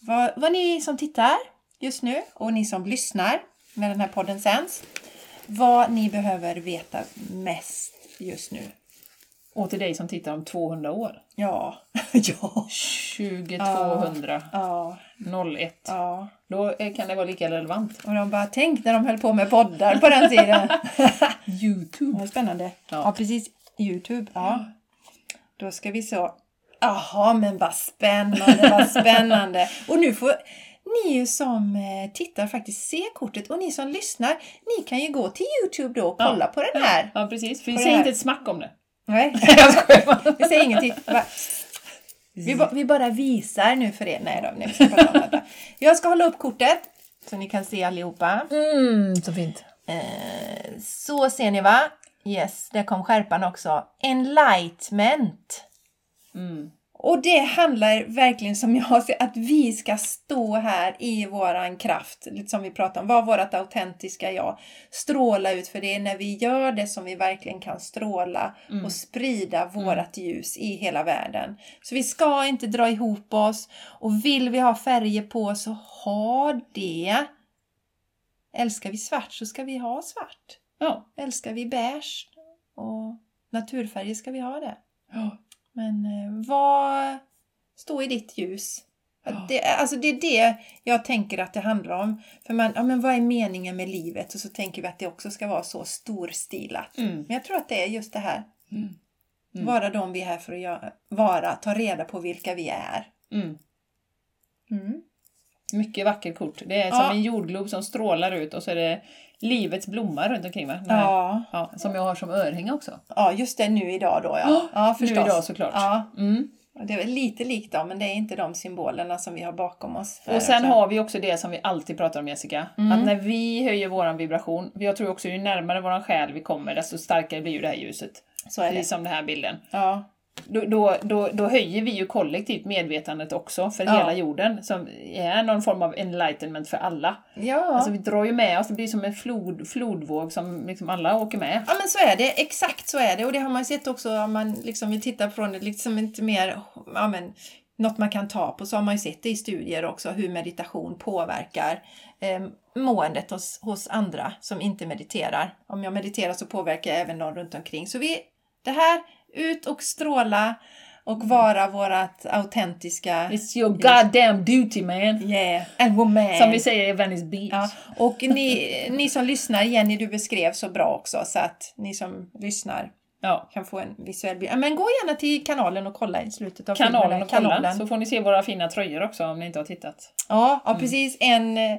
Vad, vad ni som tittar just nu och ni som lyssnar när den här podden sänds, vad ni behöver veta mest just nu. Och till dig som tittar om 200 år. Ja, ja, 2200 ja, 01. ja. Då eh, kan det vara lika relevant. Och de bara, tänk när de höll på med poddar på den tiden. Youtube. Vad spännande. Ja. Ja. precis. Youtube. Ja. Då ska vi så. Jaha, men vad spännande, vad spännande. Och nu får ni ju som eh, tittar faktiskt se kortet och ni som lyssnar, ni kan ju gå till Youtube då och kolla på den här. Ja, precis. För vi På det säger här. inte ett smack om det. Nej, Jag skojar bara. vi säger ingenting. Vi bara- Vi, ba, vi bara visar nu för er. Nej då, nej, vi ska prata om detta. Jag ska hålla upp kortet så ni kan se allihopa. Mm, så fint. Eh, så ser ni va? Yes, där kom skärpan också. Enlightenment. Mm. Och det handlar verkligen som jag ser att vi ska stå här i våran kraft, lite som vi pratade om, vara vårat autentiska jag. Stråla ut, för det är när vi gör det som vi verkligen kan stråla mm. och sprida vårat ljus i hela världen. Så vi ska inte dra ihop oss och vill vi ha färger på oss, så ha det. Älskar vi svart så ska vi ha svart. Ja. Älskar vi beige och naturfärger ska vi ha det. Men eh, vad stå i ditt ljus? Att Ja. Det, alltså det är det jag tänker att det handlar om. För man, ja, men vad är meningen med livet? Och så tänker vi att det också ska vara så storstilat. Mm. Men jag tror att det är just det här. Mm. Mm. Vara de vi är här för att göra, vara, ta reda på vilka vi är. Mm. Mm. Mycket vackert kort. Det är Ja. som en jordglob som strålar ut och så är det livets blomma runt omkring va? Den här- Ja. ja. Som jag har som örhänge också. ja, just det nu idag då ja. Ja, ja Nu förstås. idag såklart. Ja, Mm. och det är väl lite likt dem men det är inte de symbolerna som vi har bakom oss. här Och sen också. har vi också det som vi alltid pratar om Jessica, Mm. att när vi höjer våran vibration, för jag tror också ju närmare våran själ vi kommer desto starkare blir ju det här ljuset. Så är det. Precis som den här bilden. Ja. Då, då, då, då höjer vi ju kollektivt medvetandet också för Ja. hela jorden som är någon form av enlightenment för alla. Ja. Alltså vi drar ju med oss, det blir som en flod, flodvåg som liksom alla åker med. Ja men så är det, exakt så är det. Och det har man ju sett också om man liksom vill titta från det liksom inte mer, ja men något man kan ta på, så har man ju sett det i studier också hur meditation påverkar eh, måendet hos, hos andra som inte mediterar. Om jag mediterar så påverkar jag även någon runt omkring. Så vi, det här, ut och stråla och vara vårat autentiska It's your goddamn duty man! yeah, and woman. Som vi säger i Venice Beach. Ja, och ni, ni som lyssnar, Jenny du beskrev så bra också så att ni som lyssnar Ja. kan få en visuell bild. Ja, Men gå gärna till kanalen och kolla i slutet av filmen. Kanalen där. och kolla, så får ni se våra fina tröjor också om ni inte har tittat. Ja, ja precis. En, eh,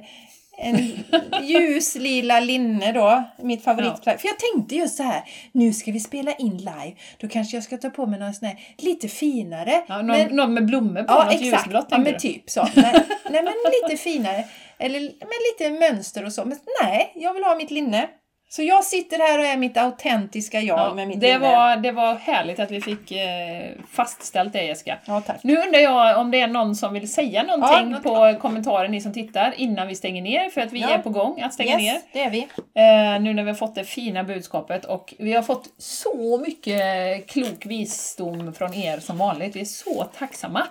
en ljuslila linne då, mitt favoritplagg. För jag tänkte just så här, nu ska vi spela in live, då kanske jag ska ta på mig någon sån här lite finare. Ja, någon, men- någon med blommor på, Ja, något exakt. ljusblått Ja, men tänker du? typ så. Nej, nej, men lite finare. Eller men lite mönster och så. Men nej, jag vill ha mitt linne. Så jag sitter här och är mitt autentiska jag Ja, med mitt det, linne. var, det var härligt att vi fick eh, fastställt det Jessica. Ja, tack. Nu undrar jag om det är någon som vill säga någonting något- på kommentaren, ni som tittar, innan vi stänger ner, för att vi Ja. är på gång att yes, stänga ner. det är vi. Eh, nu när vi har fått det fina budskapet och vi har fått så mycket klok visdom från er som vanligt. Vi är så tacksamma.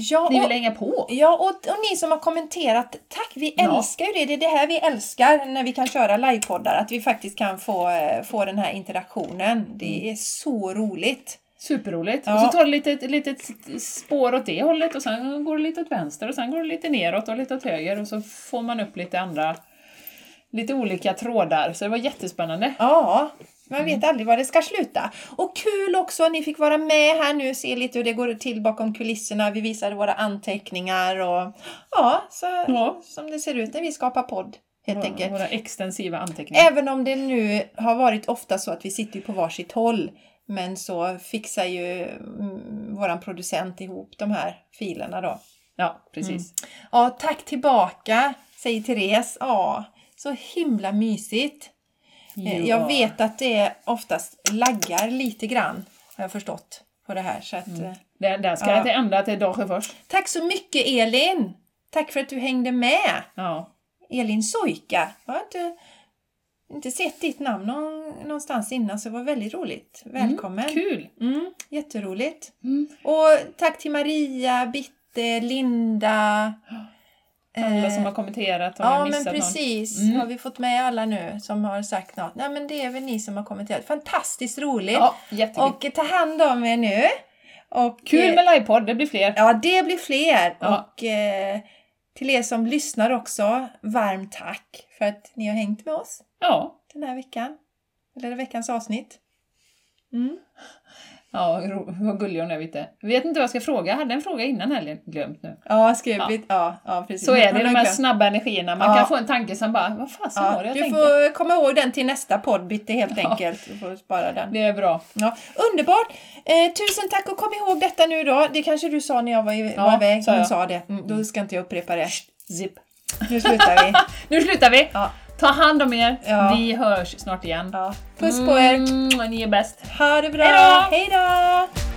Ja, Ni vill och, hänga på. ja och, och ni som har kommenterat, tack! Vi Ja. älskar ju det. Det är det här vi älskar när vi kan köra livepoddar, att vi faktiskt kan få, eh, få den här interaktionen. Mm. Det är så roligt. Superroligt. Ja. Och så tar det lite, ett litet spår åt det hållet och sen går det lite åt vänster och sen går det lite neråt och lite åt höger och så får man upp lite andra, lite olika trådar. Så det var jättespännande. Ja, man vet aldrig var det ska sluta. Och kul också att ni fick vara med här nu och se lite hur det går till bakom kulisserna. Vi visade våra anteckningar och ja, så, Ja. som det ser ut när vi skapar podd helt Våra, enkelt. våra extensiva anteckningar. Även om det nu har varit ofta så att vi sitter ju på varsitt håll. Men så fixar ju mm, våran producent ihop de här filerna då. Ja, precis. Ja, tack tillbaka, säger Therese. Ja, så himla mysigt. Eh, Ja. Jag vet att det oftast laggar lite grann, har jag förstått, på det här. Så att, Mm. eh, Där, där ska Ja. jag inte ändra till Dagsjö först. Tack så mycket Elin! Tack för att du hängde med! Ja. Elin Soika. Jag har inte, inte sett ditt namn någon, någonstans innan, så det var väldigt roligt. Välkommen! Kul! Mm, jätteroligt! Mm. Och tack till Maria, Bitte, Linda. Alla eh, som har kommenterat, har Ja, jag men missat någon? Mm. precis. Har vi fått med alla nu som har sagt något? Nej, men det är väl ni som har kommenterat. Fantastiskt roligt! Ja, jättekul. Och ta hand om er nu. Och, Kul eh, med livepodd, det blir fler. Ja, det blir fler. Ja. Och eh, till er som lyssnar också, varmt tack för att ni har hängt med oss Ja, den här veckan. Eller veckans avsnitt. Mm. ja ro- vad gullig hon är Vitte. Vet inte vad jag ska fråga, jag hade en fråga innan helgen, glömt nu. Ja, skrivit. Ja. Ja, precis. Så är Man det, de har här glömt. snabba energierna. Man Ja. kan få en tanke som bara, vad fasen var det Ja, jag du tänkte? får komma ihåg den till nästa poddbyte helt enkelt. Du får spara den. Det är bra. Ja, underbart! Eh, tusen tack och kom ihåg detta nu då. Det kanske du sa när jag var, i, var Ja, iväg. sa Hon jag. sa det. Mm, då ska inte jag upprepa det. Zip. Nu slutar vi. Nu slutar vi! Ja. Ta hand om er, Ja. vi hörs snart igen. Ja. Puss på er! Mm, ni är bäst. Ha det bra! Hej då! Hej då!